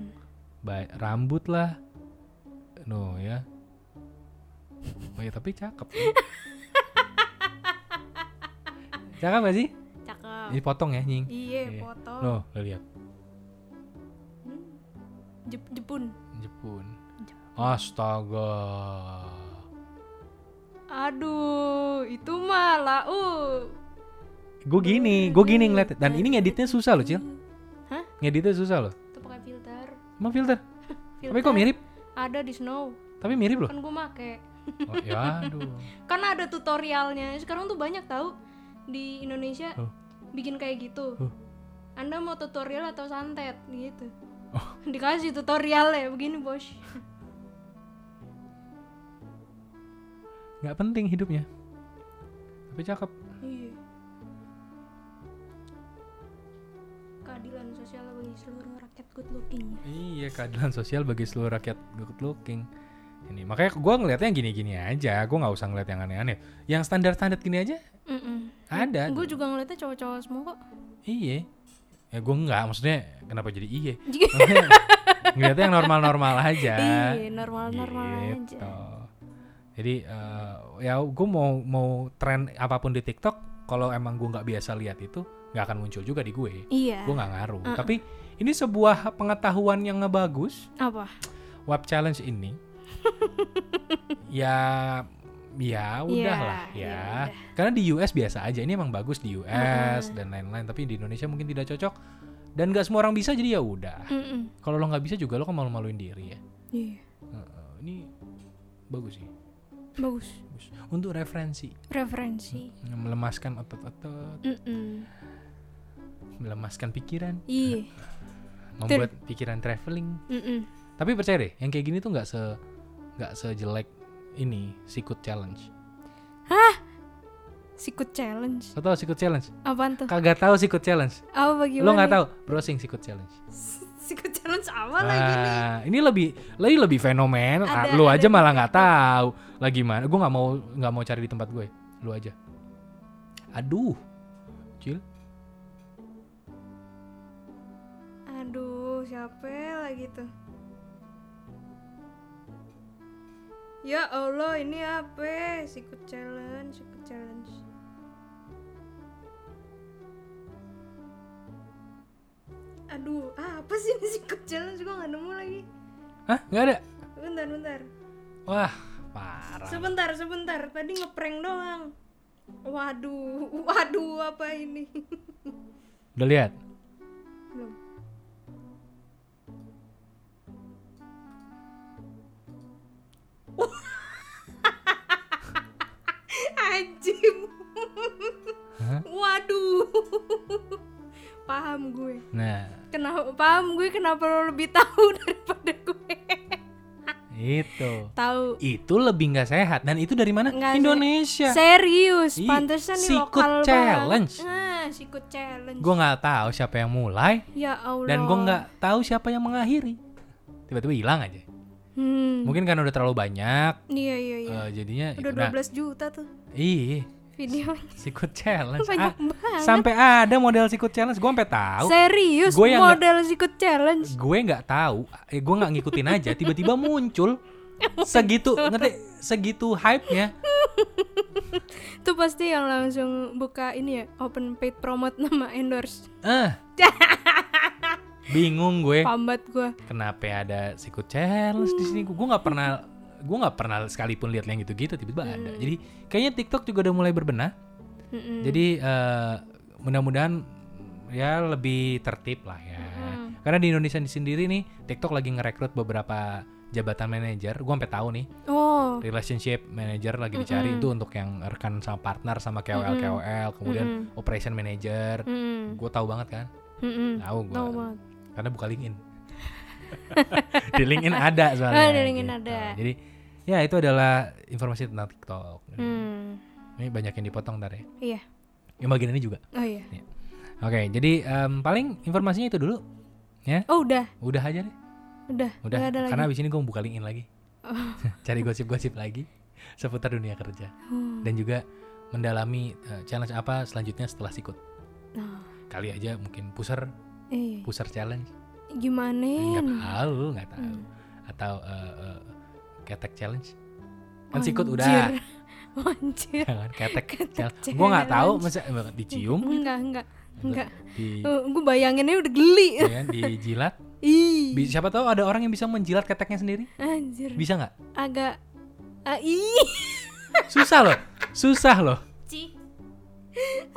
[SPEAKER 1] Ba- rambut lah. No ya. Oh ya tapi cakep. ya. cakep gak sih?
[SPEAKER 2] Cakep.
[SPEAKER 1] Ini potong ya, nying.
[SPEAKER 2] Iya,
[SPEAKER 1] Iya.
[SPEAKER 2] foto.
[SPEAKER 1] No, lo lihat.
[SPEAKER 2] Jep- Jepun.
[SPEAKER 1] Jepun. Astaga.
[SPEAKER 2] Aduh, itu mah lau.
[SPEAKER 1] Gue gini, gue gini ngeliat. Dan ini ngeditnya susah loh, Cil.
[SPEAKER 2] Hah?
[SPEAKER 1] Ngeditnya susah loh.
[SPEAKER 2] Itu pakai filter. (laughs)
[SPEAKER 1] Emang filter? Tapi kok
[SPEAKER 2] Filter.
[SPEAKER 1] mirip?
[SPEAKER 2] Ada di Snow.
[SPEAKER 1] Tapi mirip loh.
[SPEAKER 2] Kan gue make.
[SPEAKER 1] Oh, ya aduh.
[SPEAKER 2] Kan ada tutorialnya. Sekarang tuh banyak tahu di Indonesia
[SPEAKER 1] Huh.
[SPEAKER 2] bikin kayak gitu.
[SPEAKER 1] Huh.
[SPEAKER 2] Anda mau tutorial atau santet gitu.
[SPEAKER 1] Oh.
[SPEAKER 2] (laughs) Dikasih tutorial ya begini, Bos.
[SPEAKER 1] Nggak penting hidupnya. Tapi cakep.
[SPEAKER 2] Iya. Keadilan sosial bagi seluruh rakyat good looking. ya.
[SPEAKER 1] Iya keadilan sosial bagi seluruh rakyat good looking. Ini makanya gue ngelihatnya gini-gini aja. Gue nggak usah ngeliat yang aneh-aneh. Yang standar-standar gini aja ada.
[SPEAKER 2] Gue juga ngeliatnya cowok-cowok semua kok.
[SPEAKER 1] Iya. Ya gue nggak. Maksudnya kenapa jadi iya? Maksudnya ngeliatnya yang normal-normal aja.
[SPEAKER 2] (laughs) Iya, normal-normal
[SPEAKER 1] Gitu.
[SPEAKER 2] aja.
[SPEAKER 1] Jadi eh, ya gue mau mau tren apapun di TikTok. Kalau emang gue nggak biasa lihat itu nggak akan muncul juga di gue.
[SPEAKER 2] (laughs) Iya.
[SPEAKER 1] Gue nggak ngaruh. Tapi ini sebuah pengetahuan yang ngebagus.
[SPEAKER 2] Apa?
[SPEAKER 1] Web challenge
[SPEAKER 2] (laughs)
[SPEAKER 1] ini ya ya udahlah
[SPEAKER 2] Ya, ya
[SPEAKER 1] ya. Karena di US biasa aja. Ini emang bagus di US dan lain-lain, tapi di Indonesia mungkin tidak cocok. Dan gak semua orang bisa jadi ya udah.
[SPEAKER 2] Mm-mm.
[SPEAKER 1] Kalau lo nggak bisa juga lo kan malu-maluin diri ya.
[SPEAKER 2] Iya.
[SPEAKER 1] Heeh, Ini bagus sih.
[SPEAKER 2] Bagus.
[SPEAKER 1] Bagus. Untuk referensi,
[SPEAKER 2] Referensi.
[SPEAKER 1] melemaskan otot-otot,
[SPEAKER 2] Mm-mm.
[SPEAKER 1] melemaskan pikiran,
[SPEAKER 2] Iya.
[SPEAKER 1] membuat pikiran traveling.
[SPEAKER 2] Mm-mm.
[SPEAKER 1] Tapi percaya deh, yang kayak gini tuh nggak se nggak sejelek ini sikut challenge.
[SPEAKER 2] Sikut challenge.
[SPEAKER 1] Lo tau sikut challenge?
[SPEAKER 2] Apaan tuh?
[SPEAKER 1] Kagak tahu sikut challenge.
[SPEAKER 2] Apa bagaimana?
[SPEAKER 1] Lo nggak tahu browsing sikut challenge.
[SPEAKER 2] Sikut challenge apa Oh, lagi nih?
[SPEAKER 1] Nah, ini lebih lagi lebih fenomenal. Ah,
[SPEAKER 2] Ada-
[SPEAKER 1] Lo
[SPEAKER 2] ada
[SPEAKER 1] aja malah nggak tahu. Lagi mana? Gue nggak mau nggak mau cari di tempat gue. Lo aja. Aduh. Cil,
[SPEAKER 2] Aduh, siapa lagi tuh? Ya Allah, ini apa? Sikut challenge, sikut challenge. Aduh, ah, apa sih ini sikut challenge? Gue gak nemu lagi.
[SPEAKER 1] Hah? Nggak ada?
[SPEAKER 2] Bentar, bentar.
[SPEAKER 1] Wah, parah.
[SPEAKER 2] Sebentar, sebentar. Tadi ngeprank doang. Waduh, (laughs) waduh apa ini?
[SPEAKER 1] Udah lihat?
[SPEAKER 2] Belum. (laughs) Anjing.
[SPEAKER 1] Hah?
[SPEAKER 2] Waduh. Paham gue.
[SPEAKER 1] Nah,
[SPEAKER 2] Kenapa paham gue kenapa lo lebih tahu (laughs) daripada gue?
[SPEAKER 1] itu.
[SPEAKER 2] Tahu.
[SPEAKER 1] Itu lebih nggak sehat. Dan itu dari mana?
[SPEAKER 2] Nggak se-
[SPEAKER 1] Indonesia.
[SPEAKER 2] Serius,
[SPEAKER 1] Iya. Ih,
[SPEAKER 2] pantesan di
[SPEAKER 1] sikut
[SPEAKER 2] lokal banget.
[SPEAKER 1] challenge.
[SPEAKER 2] Nah, sikut challenge.
[SPEAKER 1] Gue nggak tahu siapa yang mulai.
[SPEAKER 2] ya Allah.
[SPEAKER 1] dan gue nggak tahu siapa yang mengakhiri tiba-tiba hilang aja
[SPEAKER 2] Hmm.
[SPEAKER 1] mungkin karena udah terlalu banyak
[SPEAKER 2] Iya, iya, iya.
[SPEAKER 1] eh, jadinya itu.
[SPEAKER 2] Udah
[SPEAKER 1] nah
[SPEAKER 2] 12 juta
[SPEAKER 1] (laughs)
[SPEAKER 2] tuh
[SPEAKER 1] iya
[SPEAKER 2] videonya.
[SPEAKER 1] sikut challenge
[SPEAKER 2] Banyak
[SPEAKER 1] Ah,
[SPEAKER 2] banget.
[SPEAKER 1] sampai ada model sikut challenge gue sampai tahu
[SPEAKER 2] Serius
[SPEAKER 1] Gua yang nggak-
[SPEAKER 2] model sikut challenge.
[SPEAKER 1] gue nggak tahu eh, gue nggak ngikutin aja tiba-tiba
[SPEAKER 2] (laughs)
[SPEAKER 1] muncul
[SPEAKER 2] Oh,
[SPEAKER 1] segitu ngerti segitu hype nya
[SPEAKER 2] Tuh pasti yang langsung buka ini ya, open paid promote (laughs) nama endorse. (laughs)
[SPEAKER 1] eh bingung gue
[SPEAKER 2] Pambat gua.
[SPEAKER 1] kenapa ada sikut challenge di sini gue nggak pernah gue nggak pernah sekalipun lihat yang gitu-gitu tiba-tiba ada
[SPEAKER 2] Hmm.
[SPEAKER 1] jadi kayaknya TikTok juga udah mulai berbenah
[SPEAKER 2] Mm-mm.
[SPEAKER 1] Jadi eh, mudah-mudahan ya lebih tertib lah ya.
[SPEAKER 2] Hmm.
[SPEAKER 1] Karena di Indonesia sendiri nih TikTok lagi ngerekrut beberapa jabatan manajer. Gua sampai tahu nih
[SPEAKER 2] Oh. Hmm.
[SPEAKER 1] relationship manager lagi dicari itu untuk yang rekan sama partner sama KOL KOL, kemudian
[SPEAKER 2] Hmm.
[SPEAKER 1] operation manager.
[SPEAKER 2] Mm-mm.
[SPEAKER 1] Gue tahu banget kan?
[SPEAKER 2] Mm-mm.
[SPEAKER 1] Tahu gue.
[SPEAKER 2] Hmm. Tahu banget.
[SPEAKER 1] Karena buka LinkedIn. (laughs) di LinkedIn ada soalnya. gitu.
[SPEAKER 2] Oh, di LinkedIn ada.
[SPEAKER 1] Jadi ya itu adalah informasi tentang TikTok.
[SPEAKER 2] Hmm.
[SPEAKER 1] Ini banyak yang dipotong ntar ya.
[SPEAKER 2] Iya.
[SPEAKER 1] Yang bagian ini juga.
[SPEAKER 2] Oh iya.
[SPEAKER 1] Oke, jadi em, paling informasinya itu dulu.
[SPEAKER 2] Oh udah,
[SPEAKER 1] Udah aja deh.
[SPEAKER 2] udah.
[SPEAKER 1] Udah.
[SPEAKER 2] Nggak ada lagi. Oh.
[SPEAKER 1] Karena abis ini gue buka LinkedIn lagi. (laughs) Cari gosip-gosip lagi seputar dunia kerja.
[SPEAKER 2] Oh,
[SPEAKER 1] Dan juga mendalami eh, challenge apa selanjutnya setelah sikut.
[SPEAKER 2] Nah.
[SPEAKER 1] Kali aja mungkin puser,
[SPEAKER 2] Eh,
[SPEAKER 1] puser challenge.
[SPEAKER 2] gimana?
[SPEAKER 1] Nggak Iya, tahu, nggak tahu.
[SPEAKER 2] Hmm.
[SPEAKER 1] Atau eh, eh, ketek challenge. Kan sikut (laughs) udah.
[SPEAKER 2] Oh, Anjir. (laughs) Anjir.
[SPEAKER 1] Jangan ketek.
[SPEAKER 2] Ketek
[SPEAKER 1] challenge. Gue nggak tahu
[SPEAKER 2] challenge.
[SPEAKER 1] masa eh, dicium,
[SPEAKER 2] Enggak, enggak. Enggak. (laughs)
[SPEAKER 1] di
[SPEAKER 2] gue bayanginnya udah geli.
[SPEAKER 1] ya kan, dijilat.
[SPEAKER 2] Ih.
[SPEAKER 1] Bi- Siapa tahu ada orang yang bisa menjilat keteknya sendiri?
[SPEAKER 2] Anjir.
[SPEAKER 1] Bisa nggak?
[SPEAKER 2] Agak ah, ih.
[SPEAKER 1] Susah loh, susah loh.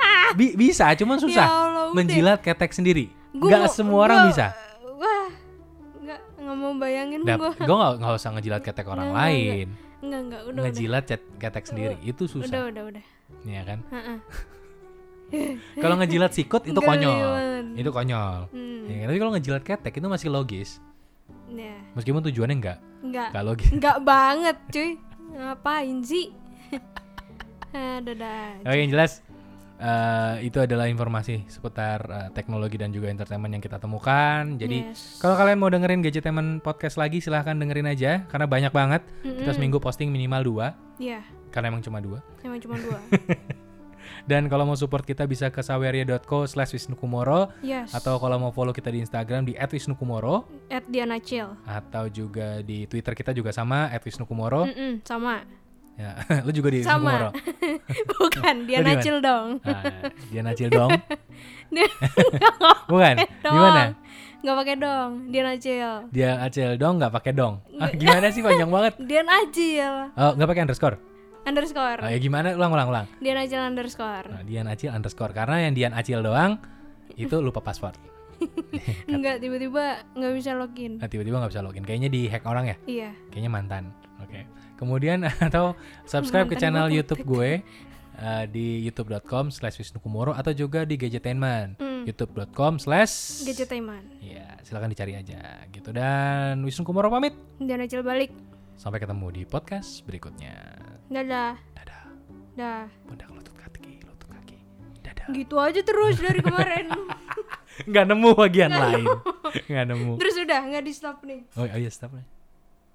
[SPEAKER 1] (laughs) Bi- bisa, cuman susah.
[SPEAKER 2] Ya Allah, udah.
[SPEAKER 1] Menjilat ketek sendiri.
[SPEAKER 2] Gua
[SPEAKER 1] Gak
[SPEAKER 2] mau-
[SPEAKER 1] semua orang
[SPEAKER 2] gua-
[SPEAKER 1] bisa.
[SPEAKER 2] Wah, nggak nggak mau mau bayangin
[SPEAKER 1] Dap,
[SPEAKER 2] gua.
[SPEAKER 1] gue gak, nggak usah ngejilat ketek orang
[SPEAKER 2] Nggak, nggak,
[SPEAKER 1] lain,
[SPEAKER 2] Enggak, enggak, udah,
[SPEAKER 1] ngejilat cet- ketek sendiri itu
[SPEAKER 2] udah. Udah,
[SPEAKER 1] susah,
[SPEAKER 2] udah, udah.
[SPEAKER 1] ya kan?
[SPEAKER 2] Ha-ha.
[SPEAKER 1] (laughs) Kalau ngejilat sikut itu
[SPEAKER 2] Geli
[SPEAKER 1] konyol,
[SPEAKER 2] banget.
[SPEAKER 1] itu konyol.
[SPEAKER 2] Hmm.
[SPEAKER 1] Ya, kan? tapi kalau ngejilat ketek itu masih logis,
[SPEAKER 2] Ya,
[SPEAKER 1] meskipun tujuannya nggak
[SPEAKER 2] enggak.
[SPEAKER 1] nggak
[SPEAKER 2] (laughs)
[SPEAKER 1] logis.
[SPEAKER 2] Enggak banget, cuy. Ngapain sih? (laughs) Ah, Aduh, dah.
[SPEAKER 1] Oke yang jelas eh, itu adalah informasi seputar eh, teknologi dan juga entertainment yang kita temukan. Jadi
[SPEAKER 2] Yes.
[SPEAKER 1] kalau kalian mau dengerin Gadgetemen podcast lagi silahkan dengerin aja karena banyak banget. Kita seminggu posting minimal dua
[SPEAKER 2] Iya,
[SPEAKER 1] karena emang cuma dua.
[SPEAKER 2] emang cuma
[SPEAKER 1] (laughs)
[SPEAKER 2] dua.
[SPEAKER 1] Dan kalau mau support kita bisa ke saweria.co slash wisnukumoro
[SPEAKER 2] Yes.
[SPEAKER 1] atau kalau mau follow kita di Instagram di @wisnukumoro
[SPEAKER 2] at Diana Chill.
[SPEAKER 1] atau juga di Twitter kita juga sama @wisnukumoro.
[SPEAKER 2] Mm-mm, sama.
[SPEAKER 1] Ya, (laughs) lu juga Oh. di
[SPEAKER 2] Hmm.
[SPEAKER 1] Oh,
[SPEAKER 2] Sama. (laughs)
[SPEAKER 1] Wisnukumoro.
[SPEAKER 2] Bukan,
[SPEAKER 1] di
[SPEAKER 2] Diana
[SPEAKER 1] mana?
[SPEAKER 2] Chill
[SPEAKER 1] (laughs)
[SPEAKER 2] dong.
[SPEAKER 1] Ah, dia nacil dong.
[SPEAKER 2] Dia-
[SPEAKER 1] Bukan.
[SPEAKER 2] (laughs) dong.
[SPEAKER 1] Gimana?
[SPEAKER 2] Nggak pakai dong, Diana Chill.
[SPEAKER 1] dia acil dong nggak pakai dong
[SPEAKER 2] Iya.
[SPEAKER 1] ah, gimana sih
[SPEAKER 2] (laughs)
[SPEAKER 1] panjang banget
[SPEAKER 2] Diana Chill
[SPEAKER 1] Oh, nggak pakai underscore
[SPEAKER 2] underscore.
[SPEAKER 1] oh, ya gimana ulang ulang ulang
[SPEAKER 2] Diana Chill underscore.
[SPEAKER 1] nah, Dian acil underscore karena yang Dian acil doang itu lupa password
[SPEAKER 2] Enggak, tiba-tiba nggak bisa login.
[SPEAKER 1] nah, tiba-tiba nggak bisa login kayaknya di hack orang ya
[SPEAKER 2] Iya.
[SPEAKER 1] kayaknya mantan oke kemudian (laughs) atau subscribe ke
[SPEAKER 2] Mantan
[SPEAKER 1] channel
[SPEAKER 2] gua
[SPEAKER 1] YouTube gue eh, di youtube.com slash wisnukumoro atau juga di gadgetainment
[SPEAKER 2] Hmm.
[SPEAKER 1] youtube.com slash
[SPEAKER 2] Gadgetaiman.
[SPEAKER 1] ya silahkan dicari aja gitu dan Wisnu Kumoro pamit
[SPEAKER 2] Diana Chill balik.
[SPEAKER 1] sampai ketemu di podcast berikutnya
[SPEAKER 2] Dadah.
[SPEAKER 1] dadah
[SPEAKER 2] Dah.
[SPEAKER 1] pundak lutut kaki lutut kaki dada
[SPEAKER 2] Gitu aja terus dari kemarin.
[SPEAKER 1] nggak nemu bagian lain nggak nemu
[SPEAKER 2] terus udah nggak di stop nih.
[SPEAKER 1] oh, oh iya stop lah